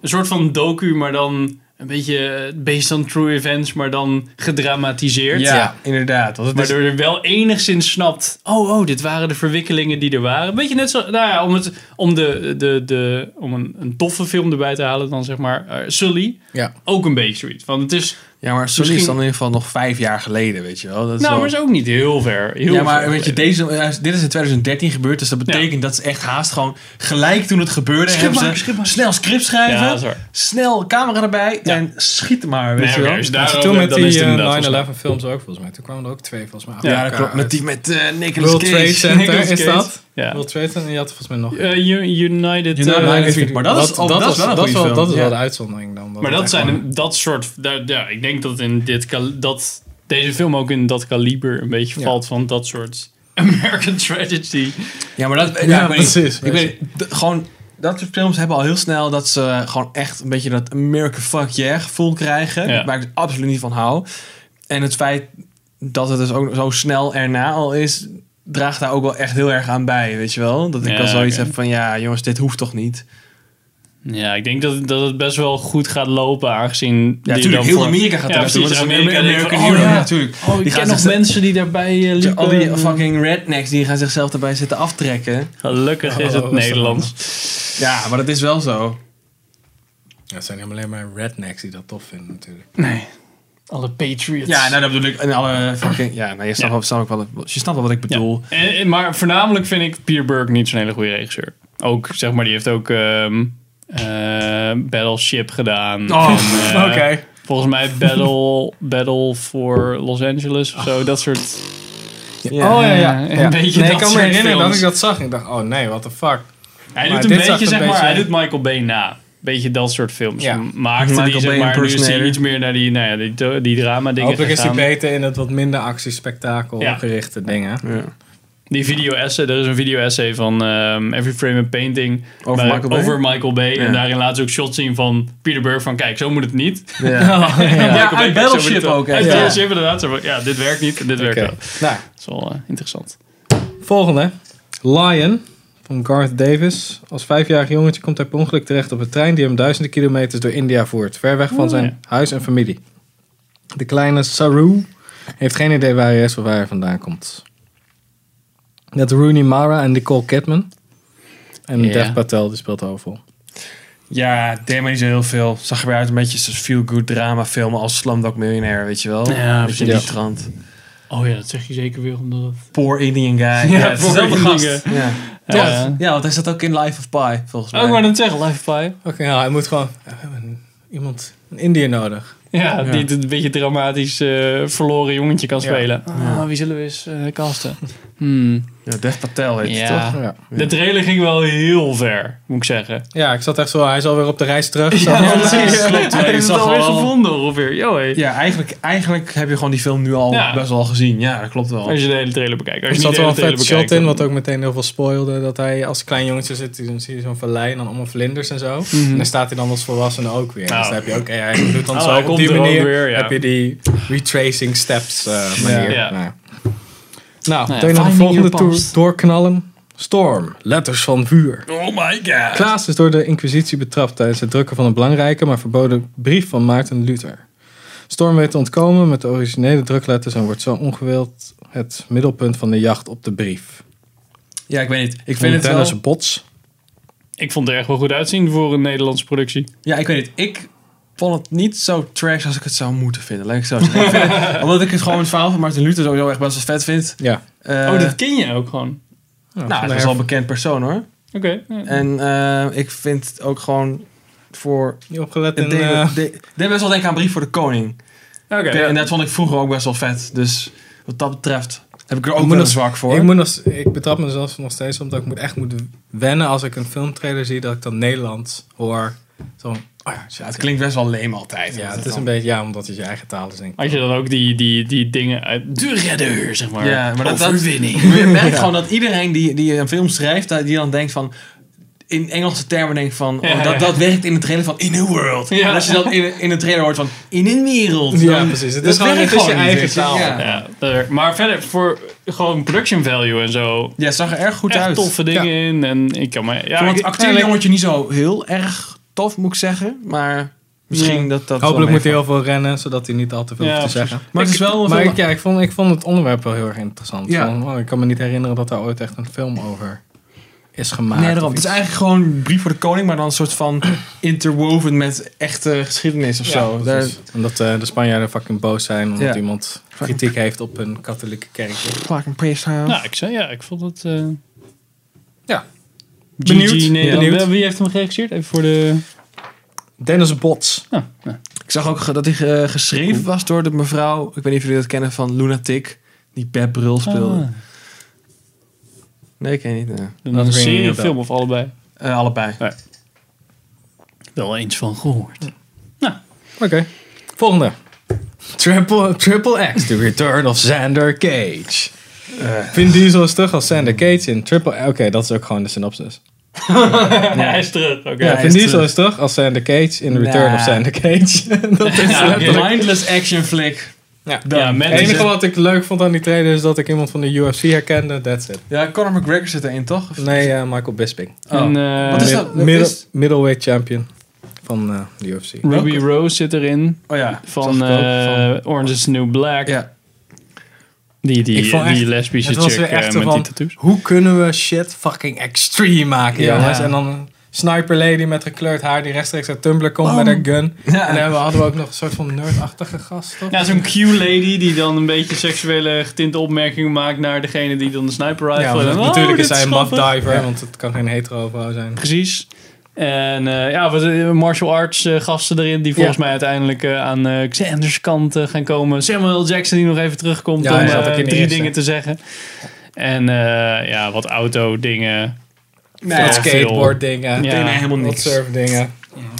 Een soort van docu, maar dan een beetje eh, based on true events, maar dan gedramatiseerd. Ja, inderdaad. Want het Maar is- door er wel enigszins snapt. Oh, oh, dit waren de verwikkelingen die er waren. Beetje net zo. Nou ja, om, het, om, de, de, de, om een, een toffe film erbij te halen, dan zeg maar. eh, Sully. Ja. Ook een beetje zoiets. Want het is. ja, maar Sully is Misschien- dan in ieder geval nog vijf jaar geleden, weet je wel. Dat is nou, wel- maar is ook niet heel ver. Heel ja, maar ver weet je, geleden. deze, ja, dit is in 2013 gebeurd, dus dat betekent Ja. dat ze echt haast gewoon gelijk toen het gebeurde. Schip hebben maken, ze schip maken. snel script Ja, schrijven, dat is waar. snel camera erbij Ja. en schiet maar, weet Nee, je oké, wel. dus Ja, daarover, toen met dan is die het eh, inderdaad wel 9-11 films ook volgens mij. Toen kwamen er ook twee volgens mij. achter Ja, elkaar dat klopt. Met, uit. die, met eh, Nicolas World Trade Cage. Center Nicolas is Cage. dat. Ja. World Trade Center en je had volgens mij nog... Eh, U- United. United eh, United Feet, maar dat is- oh, dat is wel een dat goede wel- film. Dat is wel Ja. de uitzondering dan. Oh, maar het dat echt zijn gewoon- een- dat soort. daar- ja, ik denk dat in dit kal- dat deze film ook in dat kaliber een beetje Ja. valt van dat soort. American Tragedy. Ja, maar dat... Ja, Ja, ik weet niet. precies, Ik weet niet, d- gewoon... Dat soort films hebben al heel snel dat ze gewoon echt een beetje dat American fuck yeah gevoel krijgen. Ja. Waar ik dus absoluut niet van hou. En het feit dat het dus ook zo snel erna al is, draagt daar ook wel echt heel erg aan bij, weet je wel? Dat ik Ja, al zoiets oké. heb van, ja jongens, dit hoeft toch niet? Ja, ik denk dat, dat het best wel goed gaat lopen, aangezien... Ja, die natuurlijk, dan heel voor- Amerika gaat Ja, er precies, naartoe, want het is Amerika een denkt van, American oh hero, ja. natuurlijk. Oh, ik Die ken gaan dus- nog zich- mensen die daarbij eh, liepen. Al die fucking rednecks, die gaan zichzelf erbij zitten aftrekken. Gelukkig is Oh, het was dat Nederlands. Ja, maar dat is wel zo. Ja, het zijn helemaal alleen maar rednecks die dat tof vinden natuurlijk. Nee. Alle Patriots. Ja, nou dat bedoel ik. En alle fucking... Ja, nou, je snapt, Ja. wel- snap ik wel, je snapt wel wat ik Ja. bedoel. En- en- Eh, maar voornamelijk vind ik Peter Burke niet zo'n hele goede regisseur. Ook, zeg maar, die heeft ook ehm, eh, Battleship gedaan. Oh. En, eh, Volgens mij Battle, Battle for Los Angeles of zo. Dat soort... Ja. Oh, nee, Een beetje dat ik kan me soort herinneren films. dat ik dat zag. en Ik dacht, oh nee, what the fuck. Hij Maar doet een dit zag beetje, een zeg maar, beetje- hij doet Michael Bay na. Beetje dat soort films. Ja. Maakte Michael die, Bay zeg maar, nu is hij impersonator. iets meer naar die, nou ja, die, die drama dingen Hopelijk is hij gegaan. beter in het wat minder actiespektakel Ja. gerichte dingen. Ja. Die video-essay, er is een video-essay van ehm, Every Frame a Painting Over maar- Michael Bay? over Michael Bay. Ja. En daarin laten ze ook shots zien van Peter Burke van, kijk, zo moet het niet. Ja. En Michael Bay, uit kijk, zo Battleship moet het wel. ook, hè? Uit Ja. Battleship inderdaad. Zo van, ja, dit werkt niet en dit werkt wel. Oké. Nou, Dat is wel eh, interessant. Volgende. Lion van Garth Davis. Als vijfjarig jongetje komt hij per ongeluk terecht op een trein die hem duizenden kilometers door India voert. Ver weg van Oh, zijn huis en familie. De kleine Saru heeft geen idee waar hij is of waar hij vandaan komt. Met Rooney Mara en Nicole Kidman. En Ja. Dev Patel, die speelt de hoofdrol. Ja, deed me niet zo heel veel. Zag er weer uit een beetje zo'n feel-good drama filmen als Slumdog Millionaire, weet je wel? Ja, Een beetje in precies. die trant. Oh ja, dat zeg je zeker weer omdat het... Poor Indian guy. Ja, het is poor dezelfde Indian gast. guy. Ja. Ja. Ja. ja, want hij zat ook in Life of Pi, volgens mij. Ook maar dat zeggen, Life 5. Oké, nou, hij moet gewoon... We hebben een- iemand, een Indiër nodig. Ja, Ja. die het een beetje dramatisch eh, verloren jongetje kan Ja. spelen. Ja. Ah, wie zullen we eens eh, casten? Hmm. Ja, Dev Patel heet het, toch? Ja. Ja. De trailer ging wel heel ver, moet ik zeggen. ja, ik zat echt zo... Hij is alweer op de reis terug. Zo. Ja, precies. Klopt, Hij hij is is het al alweer gevonden ongeveer. Yo, hey. Ja, eigenlijk, eigenlijk heb je gewoon die film nu al Ja. Oh, best wel gezien. Ja, dat klopt wel. Als je de hele trailer bekijkt. Als Er je zat niet de wel een hele trailer vet shot bekijkt. in, dan- wat ook meteen heel veel spoilde. Dat hij als klein jongetje zit, dan zie je zo'n vallei en dan allemaal vlinders en zo. En dan staat hij dan als volwassene ook weer. Nou. Dus dan heb je ook, ja, hij doet dan Oh, hij zo op komt die er ook manier. weer, ja. Heb je die retracing steps eh, manier. Ja. Nou, nou ja, meteen naar de finding volgende your toer past. doorknallen. Storm, letters van vuur. Oh my god. Klaas is door de Inquisitie betrapt tijdens het drukken van een belangrijke, maar verboden brief van Maarten Luther. Storm weet te ontkomen met de originele drukletters en wordt zo ongewild het middelpunt van de jacht op de brief. Ja, ik weet niet. Ik Van vind het wel... Dennis Bots. Ik vond het er echt wel goed uitzien voor een Nederlandse productie. Ja, ik weet niet. Ik vond het niet zo trash als ik het zou moeten vinden. Laat ik het zo zeggen. Ik vind het- omdat ik het gewoon het verhaal van Martin Luther sowieso echt best wel vet vind. Ja. Eh, oh, dat ken je ook gewoon. nou, dat is wel een bekend persoon hoor. Oké. ja. En eh, ik vind het ook gewoon voor... niet opgelet Het in... deed eh, me- deed- deed best wel denken aan Brief voor de Koning. Oké, En- ja. En dat vond ik vroeger ook best wel vet. Dus wat dat betreft heb ik er ook moet wel een nog- zwak voor. ik, moet nog, ik betrap mezelf nog steeds omdat ik moet echt moet wennen als ik een filmtrailer zie dat ik dan Nederlands hoor. Zo, oh ja, shit. Ja, het klinkt best wel leem altijd. Ja, Dat het is dan- een beetje... Ja, omdat het je eigen taal is, denk ik. Had je dan ook die, die, die dingen uit... De redder, zeg maar. Ja, maar dat, dat Overwinning. Je merkt gewoon dat iedereen die, die een film schrijft, dat- die dan denkt van in Engelse termen denkt van oh, Ja, dat, ja. dat werkt in de trailer van in a world. Ja. En als je dat in, in de trailer hoort van in een wereld. Ja, dan- precies. Het dat is gewoon- werkt het is je gewoon niet, eigen weet je. taal. Ja. Ja, daar- maar verder voor gewoon production value en zo. Ja, het zag er erg goed Echt uit. toffe dingen in. En ik kan maar. Ja, Voor ik- het acteerjongetje niet zo heel erg tof, moet ik zeggen. Maar Misschien dat dat. wel Hopelijk moet hij meevalt. heel veel rennen, zodat hij niet al te veel Ja, hoeft te precies. zeggen. Maar het is wel. een Maar film- ik, ja, ik, vond, ik vond het onderwerp wel heel erg interessant. Ja. Van, oh, ik kan me niet herinneren dat daar ooit echt een film over is gemaakt. nee, of daarom. Het is iets. eigenlijk gewoon Brief voor de Koning, maar dan een soort van interwoven met echte geschiedenis of Ja, zo. Daar- Precies. Omdat eh, de Spanjaarden fucking boos zijn omdat Ja. iemand kritiek heeft op een katholieke kerk. Fucking praise her. Nou, ik zei ja, ik vond het. eh, Ja. GG Benieuwd, Nederland. benieuwd. Wie heeft hem geregisseerd? Even voor de. Dennis Bots. Nou, nou. Ik zag ook ge- dat hij eh, geschreven was door de mevrouw, ik weet niet of jullie dat kennen, van Lunatic, die Beb Brul speelde. Ah, Nee, ik ken je niet. nee. Dat dan een ring serie inderdaad. of film of allebei. Eh, allebei. Wel eens van gehoord. Oké. Volgende. Triple, triple X, The Return of Xander Cage. Vin Diesel is terug als Xander Cage in Triple... Oké, dat is ook gewoon de synopsis. Ja, hij is terug. Oké. Ja, hij Vin is Diesel terug. is terug als Xander Cage in The Return Nah. of Xander Cage. dat is Ja, letterlijk- mindless action flick. Ja. Ja, met Het enige deze- wat ik leuk vond aan die trailer is dat ik iemand van de UFC herkende. That's it. Ja, Conor McGregor zit erin, toch? Of- Nee, eh, Michael Bisping. Oh. En, eh, Wat is Mid- dat? middle- is- middleweight champion van eh, de UFC. Ruby Rose zit erin. Oh ja. Van, zag ik ook, eh, Orange is the New Black. ja. Die, Ik die, vond echt- die lesbische het was chick weer echt eh, zo met van- die tattoos. Hoe kunnen we shit fucking extreme maken, Ja. jongens? En dan een sniper lady met gekleurd haar die rechtstreeks uit Tumblr komt Bam. met haar gun. Ja. En dan hebben- hadden we ook nog een soort van nerdachtige gast, toch? Ja, zo'n Q-lady die dan een beetje seksuele getinte opmerkingen maakt naar degene die dan de sniper rifle... Ja, en want dan, natuurlijk oh, is dit hij een love grappig. diver, want het kan geen hetero vrouw zijn. Precies. En eh, ja, wat eh, martial arts eh, gasten erin die volgens mij uiteindelijk eh, aan eh, Xander's kant eh, gaan komen. Samuel L. Jackson die nog even terugkomt Ja, om hij zat eh, ook in de drie eerste. dingen te zeggen. En eh, ja, wat auto dingen. Nee, Wat ja, skateboard dingen, Ja. ik deed helemaal wat niks. surf dingen.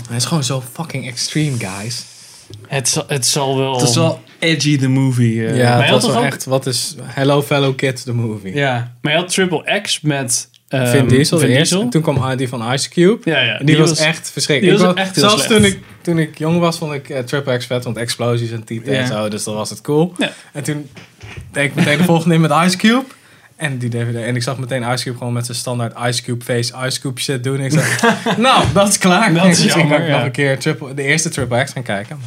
Hij is gewoon zo fucking extreme, guys. Het, zal- het zal wel... Het is wel edgy, the movie. eh. ja, hij dat had was toch wel ook- echt, wat is Hello Fellow Kids, the movie. Ja. Maar je had Triple X met... ehm, Vin Diesel, Vin de eerste. Diesel. En toen kwam eh, die van Ice Cube. Ja, ja. Die, was, echt verschrikkelijk. die was Ik echt heel zelfs slecht. Toen, ik, toen ik jong was, vond ik eh, Triple X vet, want explosies en tieten Ja. en zo, dus dan was het cool. Ja. En toen deed ik meteen de volgende in met Ice Cube. En die DVD. En ik zag meteen Ice Cube gewoon met zijn standaard Ice Cube face, Ice Cube shit doen. En ik dacht, nou, dat is klaar. Dat is Misschien kan jammer, ik ja. nog een keer triple, de eerste Triple X gaan kijken.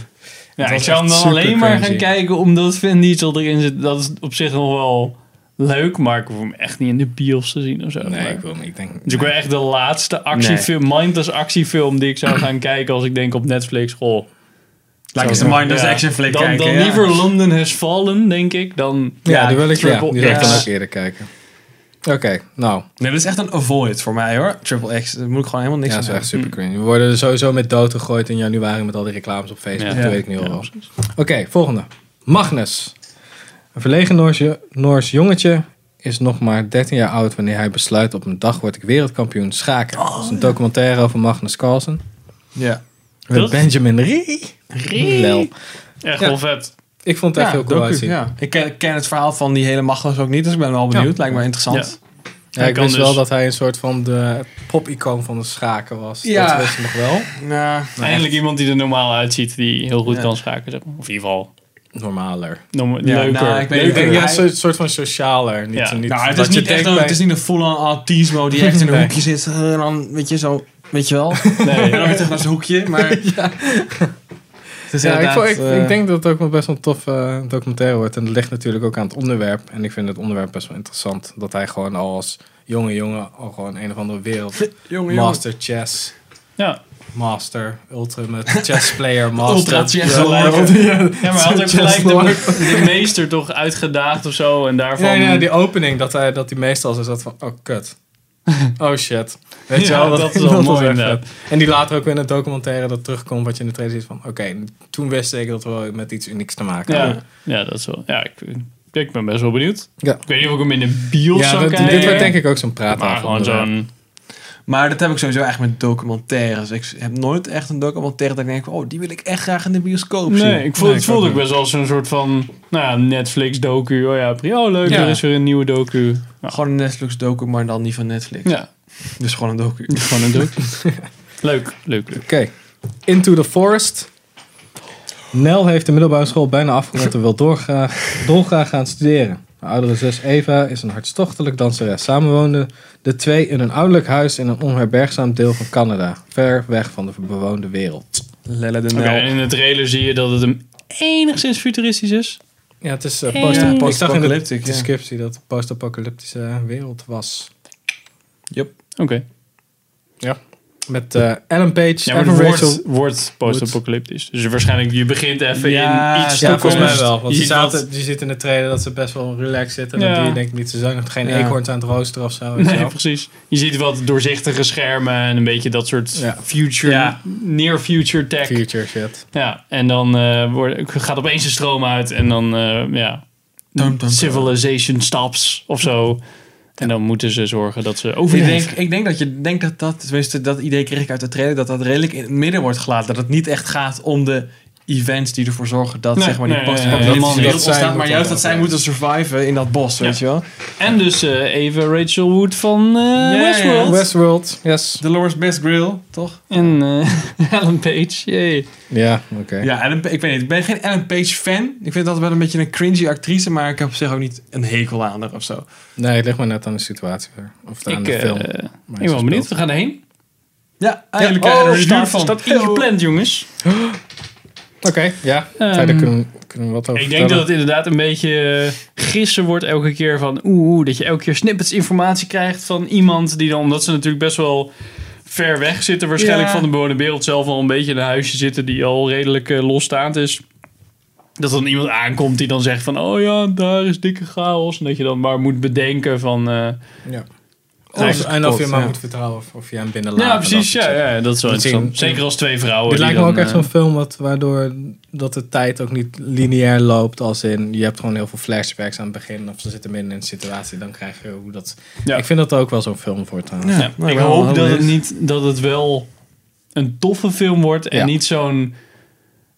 Ja, Het ik was zou hem echt dan super alleen maar gaan cringy. kijken omdat Vin Diesel erin zit. Dat is op zich nog wel leuk, maar ik hoef hem echt niet in de bios te zien of zo. Nee, Maar- ik wil niet. Ik denk, Het is ook wel echt de laatste actiefilm, mindless actiefilm die ik zou gaan kijken als ik denk op Netflix. Goh, Laat eens de Ja. mindless Ja. action flick dan, kijken. dan ja. liever London Has Fallen, denk ik. Dan, ja, die wil ik, ja, Triple die wil ik dan X. ook eerder kijken. Oké, nou. Nee, dat is echt een avoid voor mij hoor. Triple X, daar moet ik gewoon helemaal niks ja, aan dat is doen. echt super cringe. We worden er sowieso met dood gegooid in januari met al die reclames op Facebook. Ja. Dat Ja. weet ik nu al wel. Oké, volgende. Magnus. Een verlegen Noorse- Noors jongetje is nog maar 13 jaar oud wanneer hij besluit op een dag word ik wereldkampioen schaken. dat is een documentaire over Magnus Carlsen. Ja. Met Dat- Benjamin Rie. Lel. Echt Ja. wel vet. Ik vond het echt Ja, heel cool docu, uitzien. Ja. ja. Ik ken, ken het verhaal van die hele Magnus ook niet, dus ik ben wel benieuwd. Lijkt me interessant. ik Hij kan wist dus- wel dat hij een soort van de pop-icoon van de schaken was. Ja. Dat wist ik nog wel. Nou, Eindelijk iemand die er normaal uitziet, die heel goed Ja. kan schaken. Zeg maar. Of in ieder geval Normaler. norm- Ja, leuker. nou, ik weet- Ik leuker. denk, ja, Hij- een soort van socialer. Niet, Ja. niet nou, het, dat is je niet echt denkt een, bij- het is niet een full-on autismo die echt in een Nee. hoekje zit. eh, En dan, weet je, zo, weet je wel. Nee. En dan weer terug naar zijn hoekje, maar... Het is Ja, ik, inderdaad, vond- ik, eh, ik denk dat het ook wel best wel een tof eh, documentaire wordt. En dat ligt natuurlijk ook aan het onderwerp. En ik vind het onderwerp best wel interessant. Dat hij gewoon al als jonge jongen al gewoon een of andere wereld. jongen, jongen. Master chess. Ja. Master, ultimate chess player, master. Ultra chess gelijk. world. Ja, maar hij had ook Just gelijk Lord. de, de meester toch uitgedaagd of zo. En daarvan... Ja, ja, die opening, dat hij, dat hij meestal zo zat van, oh kut. Oh shit. Weet je Ja, wel, dat is wel mooi, echt inderdaad. vet. En die later ook weer in het documentaire dat terugkomt, wat je in de trailer ziet van, oké, toen wist ik dat we wel met iets unieks te maken ja. hadden. ja, dat is wel... Ja, ik, ik ben best wel benieuwd. Ja. Ik weet niet of ik hem in de bios Ja, zou dat- kijken. dit wordt denk ik ook zo'n praat Maar gewoon zo'n... Maar dat heb ik sowieso echt met documentaires. Ik heb nooit echt een documentaire dat ik denk, oh, die wil ik echt graag in de bioscoop zien. Nee, ik voel, Nee, het ik ook voelde ook niet. best wel als een soort van nou ja, Netflix-docu. Oh ja, pri- oh leuk, Ja. er is weer een nieuwe docu. Ja. Nou, Gewoon een Netflix-docu, maar dan niet van Netflix. Ja, Dus gewoon een docu. gewoon een docu. leuk, leuk, leuk. Oké. Into the Forest. Nel heeft de middelbare school bijna afgerond en wil doorgraag, dolgraag gaan studeren. Haar oudere zus Eva is een hartstochtelijk danseres. Samen woonden de twee in een ouderlijk huis in een onherbergzaam deel van Canada. Ver weg van de bewoonde wereld. Lelle de Oké, en Nel. in de trailer zie je dat het hem enigszins futuristisch is. Ja, het is eh, Hey. post Ik Ja, zag in de post-apocalyptic, ja. descriptie dat het post-apocalyptische wereld was. Yup. Oké. Met eh Ellen Page, Ja, maar Evan het Rachel... wordt, wordt post-apocalyptisch. Dus waarschijnlijk, je begint even Ja, in iets ja, Ja, volgens mij toekomst. wel. Want Je je, ziet wat- zaten, je ziet in de trailer dat ze best wel relaxed zitten. Ja. En dat je denkt niet, ze zijn nog geen Ja. eekhoorns aan het roosteren of zo. weet je Nee, wel. precies. Je ziet wat doorzichtige schermen en een beetje dat soort Ja. future, Ja. near future tech. Future shit. Ja, en dan eh, wordt, gaat opeens de stroom uit en dan, eh, ja, Dum, dum, dum. civilization stops of zo. En dan moeten ze zorgen dat ze Ik overleven. denk, ik denk dat je denk dat dat, tenminste dat idee kreeg ik uit de trailer, dat dat redelijk in het midden wordt gelaten. Dat het niet echt gaat om de events die ervoor zorgen dat Nee, zeg maar die nee, post nee, nee, nee, nee. wereld Dat zij ontstaat, maar moeten juist dat zij moeten overleven. surviven in dat bos, Ja. weet je wel. En dus eh, even Rachel Wood van eh, ja. Westworld. Westworld, yes. Dolores Best Grill, toch? En eh Alan Page, jee. Ja, oké. Ja, Ellen, Pa- ik weet niet, ik ben geen Ellen Page fan. Ik vind dat wel een beetje een cringy actrice, maar ik heb op zich ook niet een hekel aan haar of zo. Nee, het ligt maar net aan de situatie. weer. Of aan Ik, de eh, film. ik waar ze ben wel benieuwd, speelt. we gaan erheen. Ja, oh, Ja, eigenlijk krijgen we er een staat, duur van. staat ingepland, jongens. Oké, ja. Ehm, Verder kunnen, we- kunnen we wat over Ik denk dat vertellen. het inderdaad een beetje eh, gissen wordt elke keer van oeh, oeh, dat je elke keer snippets informatie krijgt van iemand die dan, omdat ze natuurlijk best wel ver weg zitten waarschijnlijk Ja. van de bewoonde wereld, zelf al een beetje in een huisje zitten die al redelijk eh, losstaand is. Dat dan iemand aankomt die dan zegt van oh ja, daar is dikke chaos. En dat je dan maar moet bedenken van... eh, Ja. Oh, dat is en of je kapot, maar ja. moet vertrouwen of, of je hem binnenlaat. ja, en dat precies. soort Ja, shit. ja, dat is wel Dat zien- interessant. Zeker als twee vrouwen. Dit die lijkt me dan, ook echt eh, zo'n film wat, waardoor dat de tijd ook niet lineair loopt. Als in, je hebt gewoon heel veel flashbacks aan het begin. Of ze zitten midden in een situatie. Dan krijg je hoe dat... Ja. Ik vind dat ook wel zo'n film voor trouwens. Ja. Ja, maar ik wel hoop dat heel het, leuk. niet, dat het wel een toffe film wordt en Ja. niet zo'n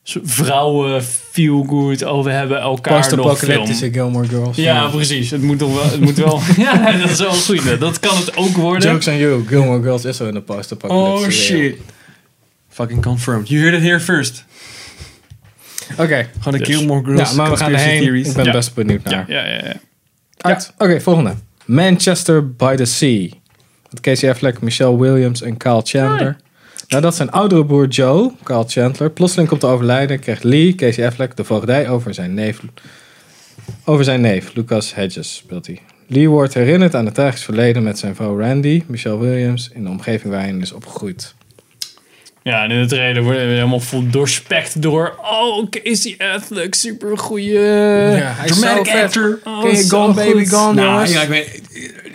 zo- vrouwen feel good. Oh, we hebben elkaar nog film. Post-apocalyptische Gilmore Girls. Ja, precies. Het moet toch wel. Het moet wel ja, dat is wel een goeie. Dat kan het ook worden. Jokes on you. Gilmore Girls is zo in de post-apocalyptische Oh wereld. shit. Fucking confirmed. You heard it here first. Oké. Gewoon de Dus. Gilmore Girls Ja, maar we gaan conspiracy erheen. theories. Ik ben Ja. best benieuwd naar. Ja, ja, ja. ja. Uit. Oké, volgende. Manchester by the Sea. Met Casey Affleck, Michelle Williams en Kyle Chandler. Nadat zijn oudere broer Joe, Kyle Chandler, plotseling komt te overlijden, krijgt Lee, Casey Affleck, de voogdij over zijn neef. Over zijn neef, Lucas Hedges speelt hij. Lee wordt herinnerd aan het tragisch verleden met zijn vrouw Randy, Michelle Williams, in de omgeving waarin hij is opgegroeid. Ja, en in de trailer worden we helemaal vol doorspekt door. Oh, Casey Affleck, super goeie. Ja. hij Dramatic actor. Oh, Oké, zo gone baby, goed. gone Nou, jongens. ja, ik weet...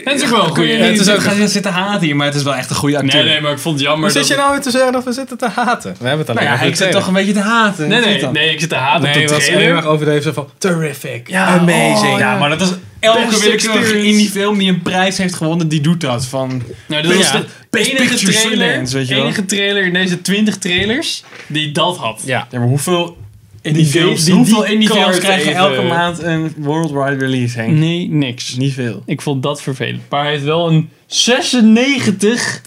Het is ook wel een goeie. het is ook- gaan zitten haten hier, maar het is wel echt een goede acteur. Nee, nee, maar ik vond het jammer. Hoe zit dat- je nou weer te zeggen dat we zitten te haten? We hebben het alleen Nou ja, over ik de zit trailer. toch een beetje te haten. Nee, Wat is nee, dat? nee, ik zit te haten Nee, op het de was heel trailer. erg overdreven zo van terrific, Ja, amazing. oh, Ja, maar dat is elke Beste willekeurige experience. indie film die een prijs heeft gewonnen, die doet dat. Van, Nou, dat Ja. was de Best enige Picture trailer, Sundance, weet je wel. enige trailer in deze 20 trailers die dat had. Ja. ja, maar hoeveel indie films, die- die hoeveel indie films kaart krijgen even- elke maand een worldwide release, Henk? Nee, niks. Niet veel. Ik vond dat vervelend. Maar hij heeft wel een 96.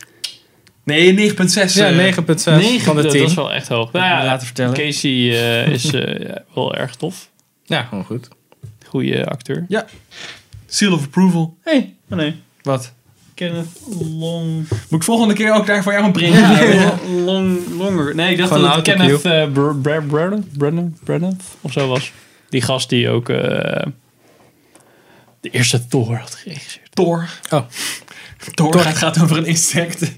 Nee, 9,6. Ja, 9,6 9, van de eh, dat 10. is wel echt hoog. Nou ja, laten vertellen. Casey eh, is eh, ja, wel erg tof. Ja, gewoon goed. Goeie acteur. Seal of approval. Hey, oh nee. Wat? Kenneth Long... Moet ik volgende keer ook daarvoor jou een printje hebben? Long... Longer. Nee, ik dacht Gewoon dat het een Kenneth eh, Br- Br- Brennan- Brennan- Brennan of zo was. Die gast die ook eh, de eerste Thor had geregisseerd. Thor. Oh. Thor, gaat- gaat over een insect.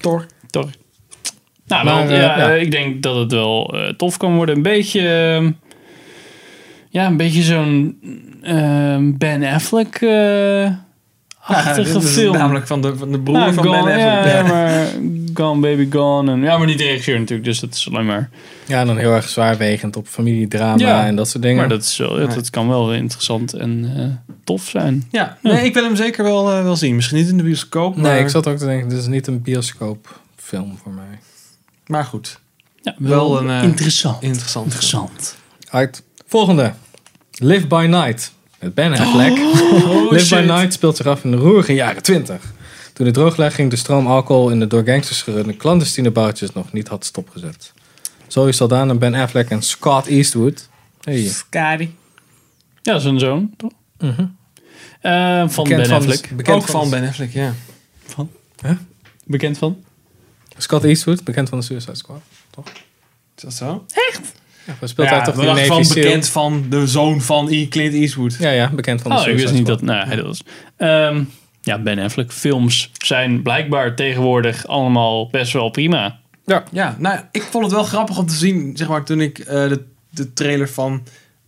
Thor. Toch? Nou, Maar, wel, eh, ja, ja. eh, ik denk dat het wel eh, tof kan worden. Een beetje, ehm, ja, een beetje zo'n ehm, Ben Affleck eh achtige dit is film. Namelijk van de, van de broer Nou, van Gone, Ben ja, Affleck. ja, maar Gone Baby Gone. En, ja, maar niet de regisseur natuurlijk, dus dat is alleen maar. Ja, en dan heel erg zwaarwegend op familiedrama Ja, en dat soort dingen. Maar dat, is wel, Nee. dat, dat kan wel interessant en eh, tof zijn. Ja, nee, ik wil hem zeker wel, eh, wel zien. Misschien niet in de bioscoop, maar, Nee, ik zat ook te denken, dit is niet een bioscoopfilm voor mij. maar goed. Ja, Wel een, eh, interessant. Interessant. Interessant. Uit. Volgende. Live by Night. Met Ben Affleck. Live shit. by Night speelt zich af in de roerige jaren 20. Toen het droog lag, ging de stroom alcohol in de door gangsters gerunde clandestine bouwtjes nog niet had stopgezet. Zoe Saldana, Ben Affleck en Scott Eastwood. Hey. Scary. Ja, zijn zoon, toch? Mhm. Eh, van Ben Affleck. Van, bekend ook van Ben Affleck, ja. Bekend van? Scott Eastwood, bekend van de Suicide Squad. Is dat zo? Ja, maar speelt hij toch we die dachten Navy van Seal? bekend van de zoon van E. Clint Eastwood. Ja, ja, bekend van de Oh, ik Suicide wist niet Squad. dat... Nou, hij dat was... Ehm, ja, Ben Affleck films zijn blijkbaar tegenwoordig allemaal best wel prima. Ja, nou, ja, ik vond het wel grappig om te zien, zeg maar, toen ik eh, de, de trailer van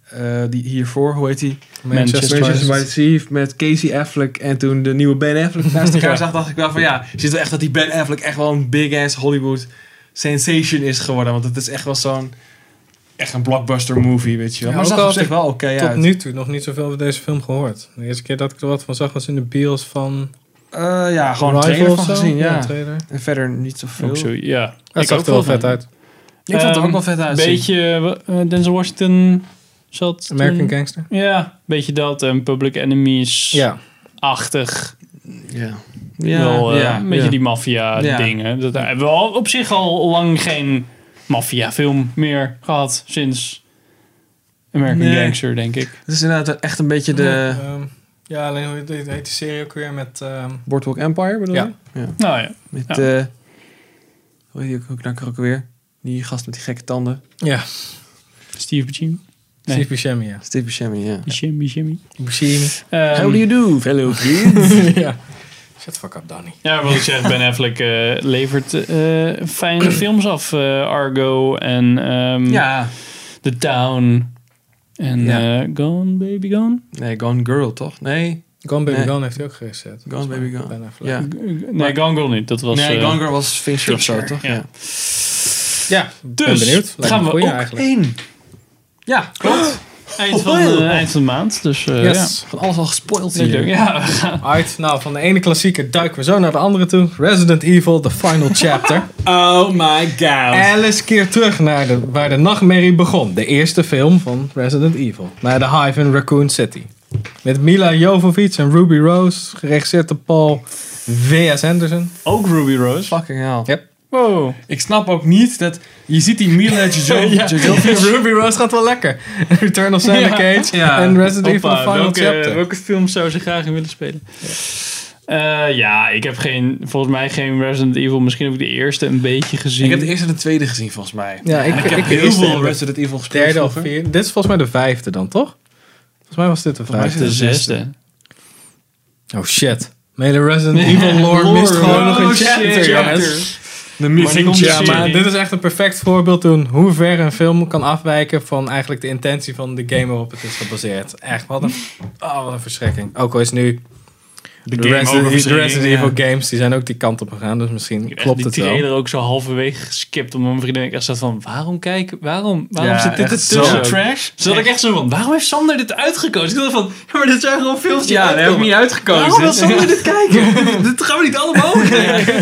eh, die hiervoor, hoe heet die? Manchester, Manchester by United. the Sea met Casey Affleck en toen de nieuwe Ben Affleck naast elkaar Ja. zag, dacht ik wel van ja, je ziet wel echt dat die Ben Affleck echt wel een big ass Hollywood sensation is geworden, want het is echt wel zo'n echt een blockbuster movie, weet je wel. Ja, maar ook het zag al op zich heb wel oké Tot uit. nu toe nog niet zoveel van deze film gehoord. De eerste keer dat ik er wat van zag was in de bios van... Eh, ja, gewoon een Arrival trailer van of zo. gezien, ja. een trailer. En verder niet zoveel. Ook zo, ja. Dat zag ook er wel van. vet uit. Ik vond het er Ehm, ook wel vet Een uitzien. beetje eh, Denzel Washington zat... toen- American Gangster. Ja, een beetje dat. En Public Ja, Enemies-achtig. Ja. Ja, Ja, wel, eh, ja, een beetje ja. die maffia-dingen. Dat daar hebben we al op zich al lang geen maffia-film meer gehad sinds American Nee. Gangster, denk ik. Het is inderdaad echt een beetje de Ja, ehm, ja, alleen hoe heet- heet die serie ook weer met... ehm, Boardwalk Empire, bedoel Ja. je? Nou ja, Met, Ja. eh hoe heet die ook- ook knakker ook weer? Die gast met die gekke tanden. ja, Steve Buscemi. Nee. Steve Buscemi, ja. Steve Buscemi, ja. Buscemi, Buscemi. Buscemi. Ehm, How do you do, fellow kids? ja. Shut the fuck up, Danny. Ja, wat ik zeg, Ben Affleck eh, levert eh, fijne films af. Eh, Argo en ehm, ja. The Town. En Ja. eh, Gone Baby Gone? Nee, Gone Girl, toch? Nee. Gone Baby Nee. Gone heeft hij ook geregisseerd. Gone Baby Gone. Ben Affleck. Ja. G- g- Nee, Gone Girl niet. Dat was... nee, eh, Gone Girl was Fincher of zo, Fincher, toch? ja. Ja, ben Dus, benieuwd. Lijkt me gaan een we goeie ook eigenlijk. Eén. Ja, klopt. Eind van, Oh, eh, oh. eind van de maand. Dus eh, Yes. Ah, Van alles al gespoild ja. hier. Ja, we gaan- Uit, nou, van de ene klassieker duiken we zo naar de andere toe. Resident Evil, The Final Chapter. Oh my god. Alice keert terug naar de, waar de nachtmerrie begon. De eerste film van Resident Evil. Naar de Hive in Raccoon City. Met Mila Jovovich en Ruby Rose. Geregisseerd door Paul W.S. Anderson. ook Ruby Rose. Fucking hell. Yep. Wow. Ik snap ook niet dat... Je ziet die Mila Jojo- Ja, Jojo- Ruby Rose gaat wel lekker. Return of Santa Ja. Cage Ja. en Resident Evil The Hoppa, Final welke, Chapter. welke film zou ze graag in willen spelen? Ja. ja, ik heb geen, volgens mij geen Resident Evil. Misschien heb ik de eerste een beetje gezien. Ik heb de eerste en de tweede gezien, volgens mij. Ja, ik, En ik heb heel eerst veel de Resident Evil gespeeld derde of vroeger. vierde. Dit is volgens mij de vijfde dan, toch? Volgens mij was dit de Volgens vijfde. mij de zesde. Oh shit. Mele Resident Evil lore mist gewoon nog een chapter, jongens. De Maar ja, maar dit is echt een perfect voorbeeld toen hoe ver een film kan afwijken van eigenlijk de intentie van de game waarop het is gebaseerd. Echt, wat een, oh, wat een verschrikking. Ook al is nu de, game Resident, over de verschrikking, Resident ja. Evil games, die zijn ook die kant op gegaan, dus misschien klopt die het wel. trailer ook zo halverwege geskipt. Omdat mijn vriendin echt zat van, waarom kijken? Waarom, waarom Ja, zit dit echt ertussen? zo trash. Zat ik echt zo van, waarom heeft Sander dit uitgekozen? Ik dacht van, ja, maar dit zijn gewoon films die Ja, daar heb ik uitkomen. niet uitgekozen. Waarom wil Sander dit kijken? Dit- dit gaan we niet allemaal krijgen.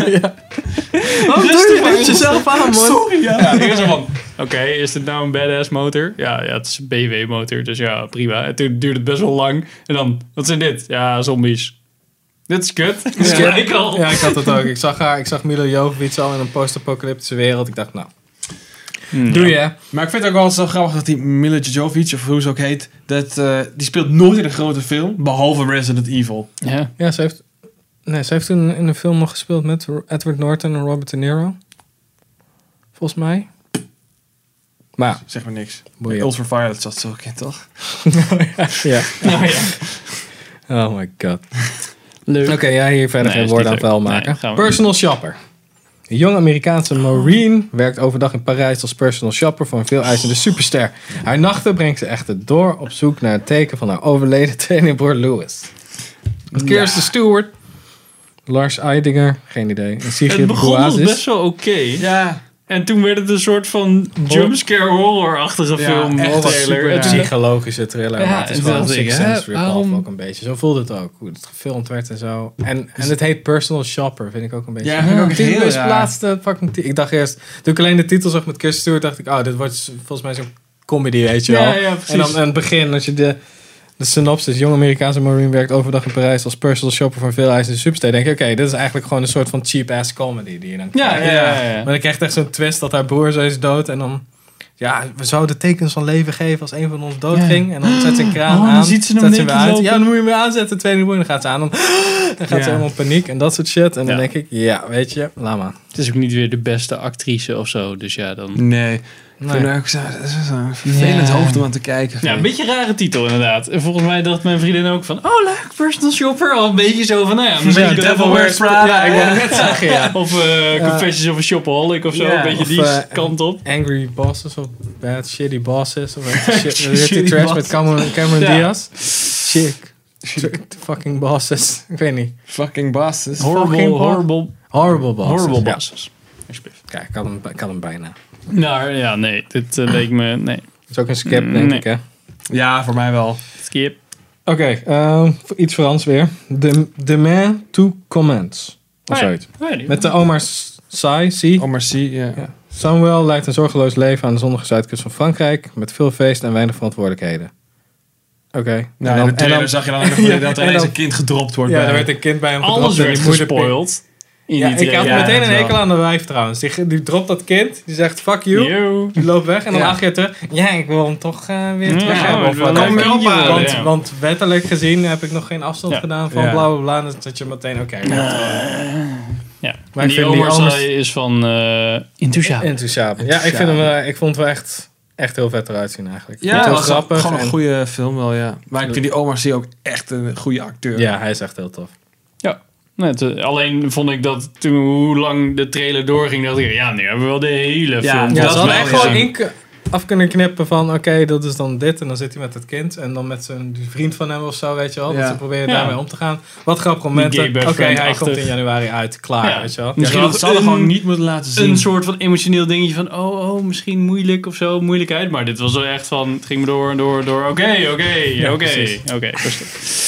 Waarom doe je dit jezelf aan, Sorry, ja. ja ik was zo van, oké, is dit nou een badass motor? Ja, ja het is een BW motor, dus ja, prima. En toen duurde het best wel lang. En dan, wat zijn dit? Ja, zombies. Dit is kut. Dit is Ja. gelijk al. Ja, ik had dat ook. Ik zag haar, ik zag Milo Jovovich al in een post-apocalyptische wereld. Ik dacht, nou, doe je. Maar ik vind het ook wel zo grappig dat die Mila Jovovich, of hoe ze ook heet, dat, eh, die speelt nooit in een grote film, behalve Resident Evil. Ja. Ja, ze heeft, nee, ze heeft toen in een film nog gespeeld met Edward Norton en Robert De Niro. Volgens mij. Maar ja, Zeg maar niks. boeien. Ultraviolet zat ze ook in, toch? Ja. Nou ja. Oh my god. Leuk. Oké, ja, hier verder Nee, geen is woorden aan niet leuk. vuil maken. Nee, gaan we- personal shopper. Een jong Amerikaanse marine werkt overdag in Parijs als personal shopper voor een veel eisende superster. Haar nachten brengt ze echter door op zoek naar het teken van haar overleden teeningbroer Louis. Met Kirsten Stewart, Lars Eidinger, geen idee, en Het Sigrid begon nog best Boazis. wel oké. Ja. En toen werd het een soort van jumpscare horror-achtige Ja, film. echt of een trailer. super- En Een toen dacht- psychologische thriller, Ja, maar het is en wel een toen dacht ik, Sixth hè, Sense rip waarom- ook een beetje. Zo voelde het ook, hoe het gefilmd werd en zo. En, en het heet Personal Shopper, vind ik ook een beetje. Ja, vind ik ook die heel raar. misplaatste dus fucking ti- Ik dacht eerst, toen ik alleen de titel zag met Kirsten Stewart, dacht ik, oh, dit wordt s- volgens mij zo'n comedy, weet je wel. Ja, ja, en dan precies. aan het begin, als je de... De synopsis, jong Amerikaanse marine werkt overdag in Parijs als personal shopper van veel eisende substay. Denk ik, oké, dit is eigenlijk gewoon een soort van cheap-ass comedy die je dan Ja, krijgt. ja, ja. ja. Maar dan krijgt echt zo'n twist dat haar broer zo is dood en dan Ja, we zouden tekens van leven geven als een van ons dood Ja. ging. En dan zet ze een kraan Oh, dan aan. ziet ze hem zet ze netjes weer uit. lopen. Ja, dan moet je hem weer aanzetten. Tweede boer, dan gaat ze aan. Dan, dan gaat Ja. ze helemaal in paniek en dat soort shit. En dan Ja. denk ik, ja, weet je, laat maar. Het is ook niet weer de beste actrice of zo. Dus ja, dan... Nee. Ik Nee. vind het ook zo- dat is een vervelend Ja. hoofd om aan te kijken. Ja, een beetje een rare titel inderdaad. En volgens mij dacht mijn vriendin ook van... Oh, leuk, personal shopper. Al een beetje zo van... Nou ja, misschien Ja, kunnen we Devil wel- Wears Prada. Ja, ik wou Ja. net zeggen, ja. Of eh, Ja. Confessions of a Shopaholic of zo. Ja, een beetje of, die eh, kant op. Angry bosses of bad shitty bosses. Of weet je, shit, Shitty weet je, trash boss. met Cameron, Cameron Ja. Diaz. Chick. Fucking bosses. Ik weet niet. Fucking basses. Horrible, fucking bo- horrible, Horrible bosses. horrible Ja. bosses. Alsjeblieft. Kijk, ik had hem, ik had hem bijna. Nou ja, nee. Dit eh, leek me... Nee. Dat is ook een skip, denk Nee. ik, hè? Ja, voor mij wel. Skip. Oké, ehm, voor iets Frans weer. De, de man to comments. Of Oh ja. zoiets. Oh ja, die- Met de Omar Sai, Si. Oh, maar zie, ja. Ja. Samuel leidt een zorgeloos leven aan de zonnige zuidkust van Frankrijk. Met veel feest en weinig verantwoordelijkheden. Oké. Nou, in de trailer zag je dan ook nog Ja, dat er en ineens dan- een kind gedropt wordt. ja, bij er hem. werd een kind bij hem Alles en die werd moeder pik- gespoild. In Ja, die ik had trailer. Ja, meteen dat een wel. hekel aan de wijf trouwens. Die, die dropt dat kind. Die zegt fuck you. Yo. Die loopt weg en dan Ja. acht jaar terug. Ja, ik wil hem toch eh, weer Ja, terug hebben. we Of wat willen dan hem ook. wel behouden, want, ja. want wettelijk gezien heb ik nog geen afstand Ja. gedaan van Ja. bla bla bla. Dus dat je meteen oké. Ja. Maar ik die vind die Omar anders- Sy is van eh Intouchable. Enthousiasme. Ja, ik, vind hem, eh, ik vond het wel echt, echt heel vet eruit zien eigenlijk. Ik Ja, vond het dat heel was grappig. gewoon een en- goede film wel, ja. Maar ik vind die Omar Sy ook echt een goede acteur. Ja, hij is echt heel tof. Nee, het, eh, alleen vond ik dat toen hoe lang de trailer doorging, dacht ik, ja, nu hebben we wel de Ja, hele film. ja, Ja, volgens ze dat hadden mij wel, echt gewoon gezien. in ku- af kunnen knippen van oké, dat is dan dit. En dan zit hij met het kind. En dan met zijn die vriend van hem of zo, weet je wel. Dat Ja. ze proberen Ja. daarmee om te gaan. Wat grappige gay momenten. Oké, best hij friend-achtig. komt in januari uit. Klaar, Ja. weet je wel. Ja. Misschien wel dat ze hadden een- gewoon niet moeten laten zien. Een soort van emotioneel dingetje van, oh, oh, misschien moeilijk of zo, moeilijkheid. Maar dit was wel echt van, het ging me door en door en door. Oké, oké, Ja, oké, precies. oké.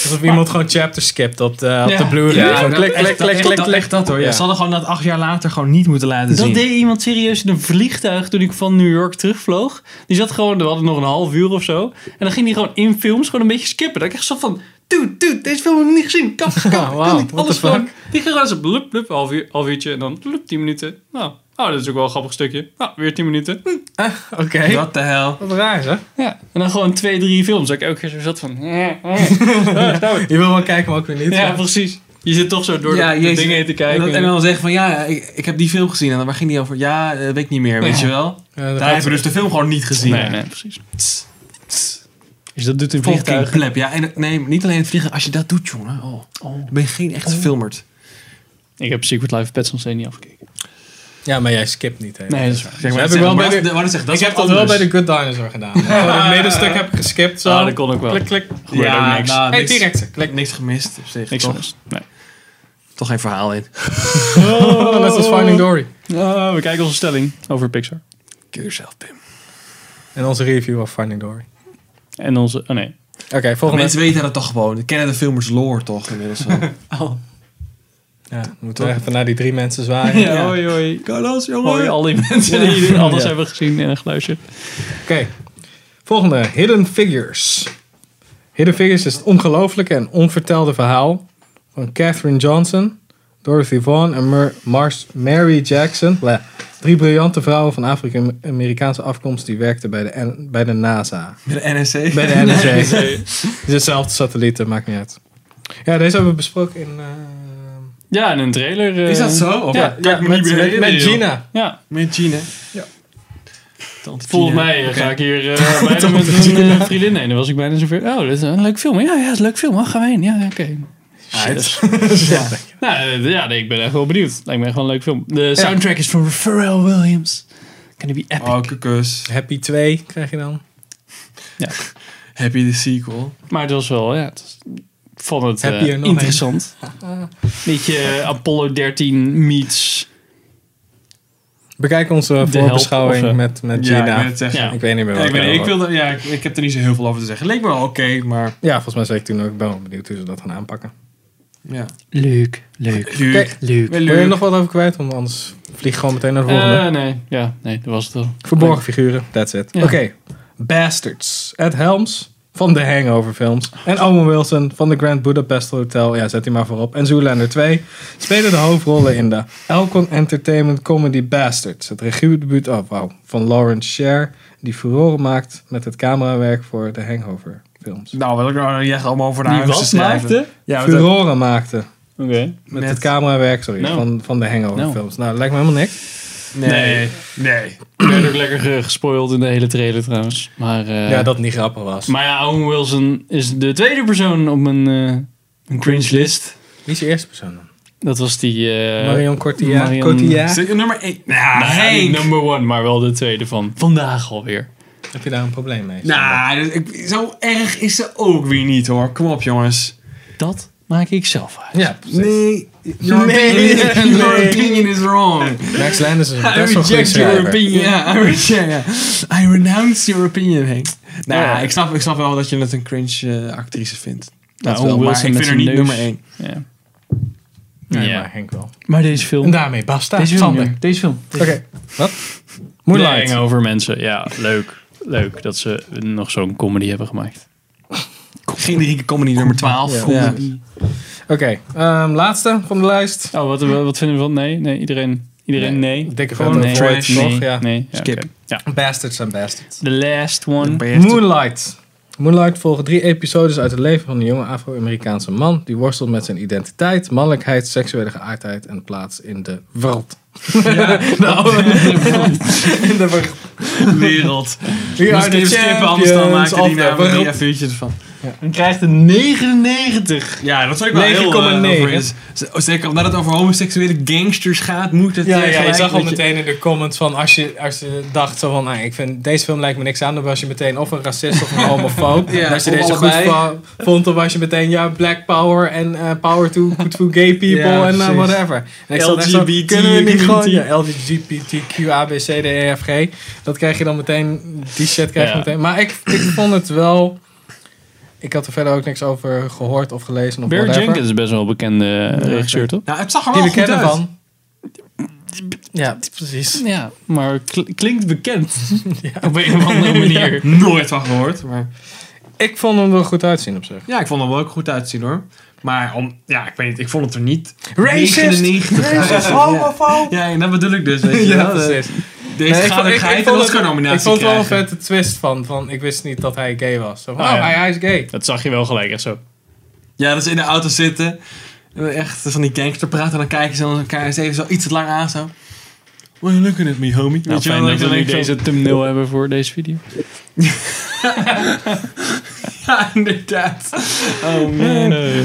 Alsof iemand gewoon chapter skipt op de, op Ja. de Blu-ray. Ja, Gewoon dat- klik, echt klik, dat- klik, echt klik, dat- klik. echt dat hoor. ja. Ja. Ze hadden gewoon dat acht jaar later gewoon niet moeten laten Dat zien. deed iemand serieus in een vliegtuig toen ik van New York terugvloog. Die zat gewoon, we hadden nog een half uur of zo. En dan ging hij gewoon in films gewoon een beetje skippen. Dat ik echt zo van, dude, dude, deze film heb ik niet gezien. Kap, Ja, kap, ik wauw, kan niet. what Alles the gewoon. Die ging gewoon zo, blup, blup, half, uur, half uurtje. En dan, blup, tien minuten. Nou, oh, dat is ook wel een grappig stukje. Nou, weer tien minuten. Hm. Oké. Wat de hel. Wat raar, hè? Ja. En dan gewoon twee, drie films. Dat ik elke keer zo zat van, eh, eh. Je wil wel kijken, maar ook weer niet. ja, precies. Je zit toch zo door Ja, de, de jezus. dingen heen te En kijken. dan, en dan eh, zeggen van ja, ik, ik heb die film gezien. En dan waar ging die over? Ja, eh, weet ik niet meer, weet je wel. Ja, dat Daar gaat- hebben we dus de film gewoon niet gezien. nee, nee, precies. Tss, tss, Dus dat doet een Fucking pleb. Ja, en nee, niet alleen het vliegen. Als je dat doet, jongen. Oh, dan ben je geen Oh. echte filmerd. Ik heb Secret Life of Pets nog steeds niet afgekeken. ja, maar jij skipt niet, hè? Nee, dat is waar. Zeg heb ik wel bij de- Wat zeg, dat ik is heb wat dat wel bij anders. de Good Dinosaur gedaan. Gewoon het middenstuk heb ik geskipt. Zo. Ah, dat kon ook wel. Klik, klik. Gebeurde ook niks. nou, Hey, niks- T-Rex. Klik. Niks gemist op zich. Niks toch, anders. Nee. toch geen verhaal in. Oh, net als Finding Dory. Ah, we kijken onze stelling over Pixar. Keur jezelf, Pim. En onze review van Finding Dory. En onze... Oh nee. Oké, volgende. Mensen weten dat toch gewoon. Die kennen de filmers lore toch inmiddels wel. Ja, we moeten we even naar die drie mensen zwaaien. Ja. Hoi, hoi. Carlos, Hoi, al die mensen die Ja. alles Ja. hebben gezien en geluisterd. Oké. Volgende. Hidden Figures. Hidden Figures is het ongelooflijke en onvertelde verhaal van Katherine Johnson, Dorothy Vaughan en Mer- Mars Mary Jackson. Bleh. Drie briljante vrouwen van Afrika-Amerikaanse afkomst die werkten bij de, N- bij de NASA. Bij de NSC. Bij de NSA. Het is hetzelfde satellieten, maakt niet uit. Ja, deze hebben we besproken in... eh, Ja, en een trailer. eh, Is dat zo? Of Ja, kan ik ja, me met, niet meer met, herinneren, met joh. Gina. Ja, Met Gina. Ja. Tante volgens Gina. mij eh, Oké. ga ik hier eh, bijna met een eh, vriendin heen. Dan was ik bijna zover. Oh, dit is een leuk film. Ja, ja, het is een leuk film. Oh, gaan we heen. Ja, oké. Uit. Shit. Ah, Ja. Nou, eh, ja, nee, ik ben echt wel benieuwd. Lijkt me echt wel een leuk film. De soundtrack is van Pharrell Williams. Gonna be epic. Oh, kus. Happy 2 krijg je dan. Happy the sequel. Maar het was wel, ja, het, ik vond het Heb eh, je er nog interessant. Beetje eh, Apollo 13 meets. Bekijk onze help, voorbeschouwing of, eh, met, met Ja, Gina. ik wil het zeggen. Ja. Ik weet niet meer Ja, wat ik, weet niet, het ik, wilde, ja, ik, ik heb er niet zo heel veel over te zeggen. Leek me wel oké, maar... Ja, volgens mij zei ik toen ook, ik ben wel benieuwd hoe ze dat gaan aanpakken. Ja. Leuk, leuk, Oké, leuk. wil je er nog wat over kwijt? Want anders vlieg ik gewoon meteen naar de volgende. Eh, Eh, nee, ja, nee, dat was het wel. Verborgen figuren, that's it. Ja. Oké, Bastards. Ed Helms van de Hangover films. En Owen Wilson van de Grand Budapest Hotel. Ja, zet die maar voorop. En Zoolander 2 spelen de hoofdrollen in de Elcon Entertainment Comedy Bastards. Het regiedebuut, oh wauw, van Lawrence Sher die furore maakt met het camerawerk voor de Hangover films. Nou, wat ik nou echt allemaal over de Die huis te was schrijven. maakte? Ja, wat- furore maakte Oké. met, Met- het camerawerk, sorry, Nou. van, van de Hangover Nou. films. Nou, dat lijkt me helemaal niks. nee, nee. Ik werd ook lekker ge- gespoild in de hele trailer trouwens. Maar, eh, ja, dat het niet grappig was. maar ja, Owen Wilson is de tweede persoon op mijn, eh, mijn cringe list. Wie is de eerste persoon dan? Dat was die... eh, Marion Cotillard. Marion- Cotillard. Zit je nummer 1? nou, Nou, niet Henk. number one, maar wel de tweede van vandaag alweer. Heb je daar een probleem mee? Nou, dus ik- zo erg is ze ook weer niet hoor. Kom op jongens. Dat maak ik zelf uit. Ja, precies. Nee, your Nee, opinion, your nee. opinion is wrong. Max Landis is een I best wel goede reject your schrijver. opinion. Ja, I, reject, ja. I renounce your opinion, Henk. Nou, Ja. ik, snap, ik snap wel dat je het een cringe eh, actrice vindt. Dat Nou, wel, Owen maar Wilson ik met vind haar zijn niet neus. nummer 1. Ja. Nee, Ja. maar Henk wel. Maar deze film... En daarmee basta. Deze film. Sander. nu. Deze film. Oké. Wat? Moonlight. Nee, over mensen. Ja, leuk. Leuk dat ze nog zo'n comedy hebben gemaakt. Generieke comedy nummer 12. Ja. Oké, ehm, laatste van de lijst. Oh, wat, wat vinden we van? Nee, nee, iedereen. Iedereen, nee. Dikke Gewoon vette nee. Void, nee, toch? Ja. nee. Ja, Skip. oké. Ja. Bastards and Bastards. The last one. Moonlight. Moonlight volgen drie episodes uit het leven van een jonge Afro-Amerikaanse man die worstelt met zijn identiteit, mannelijkheid, seksuele geaardheid en plaats in de wereld. Nou, in de wereld. wereld. We are the strippen, anders dan champions maakte of die the naam drie world. F4'tjes van. Dan krijgt een 99. Ja, dat zou ik wel heel eh, 9,9. over is. Z- Zeker omdat het over homoseksuele gangsters gaat, moet het... Ja, eh, ja, je gelijk zag al met je- meteen in de comments van als je, als je dacht zo van, nou, ik vind deze film lijkt me niks aan, dan was je meteen of een racist of een homofoob. Ja, en als je of deze allebei. goed va- vond, dan was je meteen ja, black power en eh, power to, to gay people Ja, en eh, precies. whatever. En ik zat echt zo, LGBT, kunnen we niet gewoon, LGBT? ja, LGBTQ, A, B, C, D, E, F, G. Dat krijg je dan meteen, die shit krijg je Ja. meteen. Maar ik, ik vond het wel, ik had er verder ook niks over gehoord of gelezen of Barry whatever. Jenkins is best wel een bekende eh, regisseur, toch? Nou, het zag er wel Die we goed kennen uit. van. Ja, precies. Ja, maar kl- klinkt bekend. Op een of andere manier. Nooit van gehoord, maar... Ik vond hem er goed uitzien op zich. Ja, ik vond hem wel ook goed uitzien hoor. Maar om, ja, ik weet niet, ik vond het er niet. Racist! 99 uit. Ja. Ja, en dat bedoel ik dus, weet je Ja, wel. De- precies. Deze Nee, ik vond- gaat ik- ik, ik ik, vond dat het- is een nominatie Ik vond het wel een krijgen. vette twist van, van, ik wist niet dat hij gay was. Zo van, Oh, oh, ja. hij, hij is gay. Dat zag je wel gelijk, echt zo. Ja, dat ze in de auto zitten. En dan Echt van die gangster praten. En dan kijken ze elkaar eens even zo iets te lang aan. Zo. What are you looking at me, homie? Weet Nou, je wel, fijn dan dat we nu denk ik zo- deze thumbnail hebben voor deze video. Ja, inderdaad. Oh man. Nee.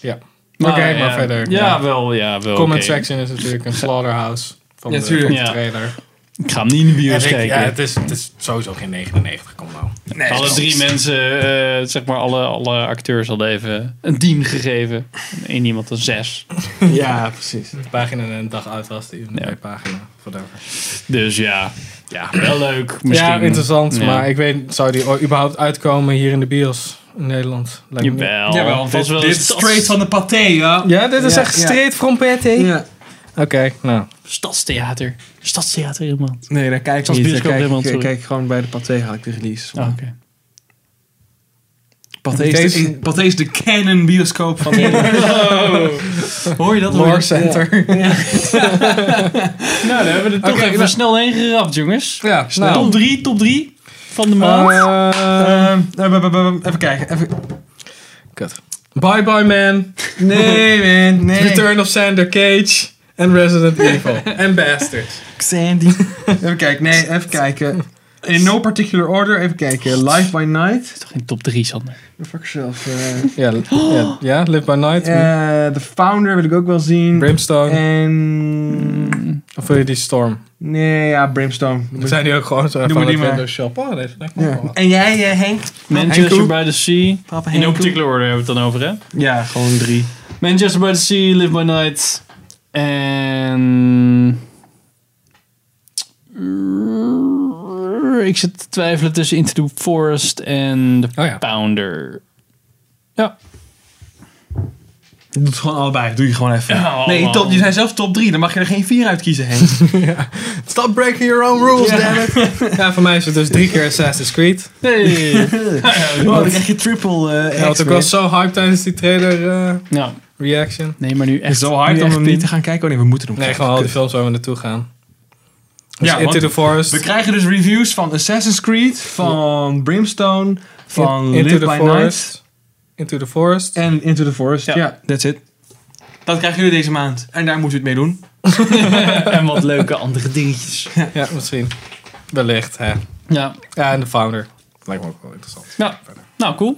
Ja. Oké, Maar, maar ja. verder. Ja, Ja. wel, ja, wel. Comment oké. section is natuurlijk een slaughterhouse van Ja, de, tuurlijk. van de Ja. trailer. Ik ga hem niet in de bios En ik- ja, kijken. het is, het is sowieso geen 99, kom nou. Nee, alle dat- drie mensen, eh, zeg maar alle, alle acteurs hadden even een tien gegeven. En één iemand een zes. Ja, precies. De pagina een dag uit was, die Ja. nee, pagina, whatever. Dus ja, ja wel leuk. Misschien. Ja, interessant, Ja. maar ik weet, zou die ooit überhaupt uitkomen hier in de bios in Nederland? Lijkt me niet. Jawel. Jawel, Vast dit, Nou, wel dit eens- is straight van de paté, ja. Ja, dit is Ja, echt ja. straight from PT. Ja. Oké, nou. Stadstheater. Stadstheater helemaal. Nee, daar kijk ik Zoals niet. Daar bioscoop kijk, helemaal, ik- sorry. kijk gewoon bij de paté ga ik de release. Ah. Oh, Oké. Pathé, is de, Deze- Pathé is de canon bioscoop van Eh, Nederland. Hoor je dat? Lore Center. Nou, daar hebben we er toch Oké, even nou. snel heen gerapt, jongens. Ja, Eh, Top nou. 3, top 3 van de maand. Ehm, ehm, ehm, ehm, even kijken. Even. Kut. Bye Bye Man, Nee, man. Nee. Return of Sander Cage en Resident Evil. en Bastards. Sandy. even kijken. Nee, even kijken. In no particular order. Even kijken. Live by Night. is toch geen top 3, Sander? Fuck yourself. eh. Ja, li- ja, ja, Live By Night, Eh, the Founder wil ik ook wel zien. Brimstone. En... Mm, Of wil je die Storm? Nee, ja, Brimstone. We zijn die ook gewoon zo Noem van die het maar. Windows Shop. Oh, deze lijkt me Ja. wel wat. En jij, eh, Henk? Manchester Henk by the Sea. Papa In Henk. no particular order hebben we het dan over, hè? Ja, gewoon drie. Manchester by the Sea, Live by Night. En... Ik zit te twijfelen tussen Into the Forest en The Oh ja. Pounder. Doe het gewoon allebei. Doe je gewoon even. Ja, nee, allemaal. top, je zijn zelf top drie. Dan mag je er geen vier uit kiezen, Henk. Stop breaking your own rules, damn it. ja, voor mij is het dus drie keer Assassin's Creed. Nee. Oh, dan krijg je triple eh Ja, want ik was zo hyped tijdens die trailer eh, nou, reaction. nee, maar nu echt. zo hard nu om echt hem niet te gaan kijken. Oh nee, we moeten hem Nee, kijken. gewoon al die Kut. films waar we naartoe gaan. Dus Ja, Into want the Forest. We krijgen dus reviews van Assassin's Creed, van Brimstone, van In- Live by Night Into the Forest. en Into the Forest. Ja, Ja. that's it. Dat krijgen jullie deze maand. En daar moeten we het mee doen. en wat leuke andere dingetjes. Ja, misschien. Wellicht, hè. Ja, Ja, en de Founder. Lijkt me ook wel interessant. nou, nou cool.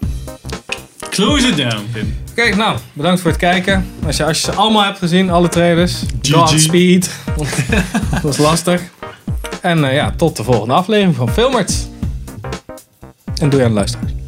Close it down, Pim. Oké, nou, bedankt voor het kijken. Als je, als je ze allemaal hebt gezien, alle trailers, Godspeed. Dat was lastig. En eh, ja, tot de volgende aflevering van Filmert. En doe je aan de luisteraars.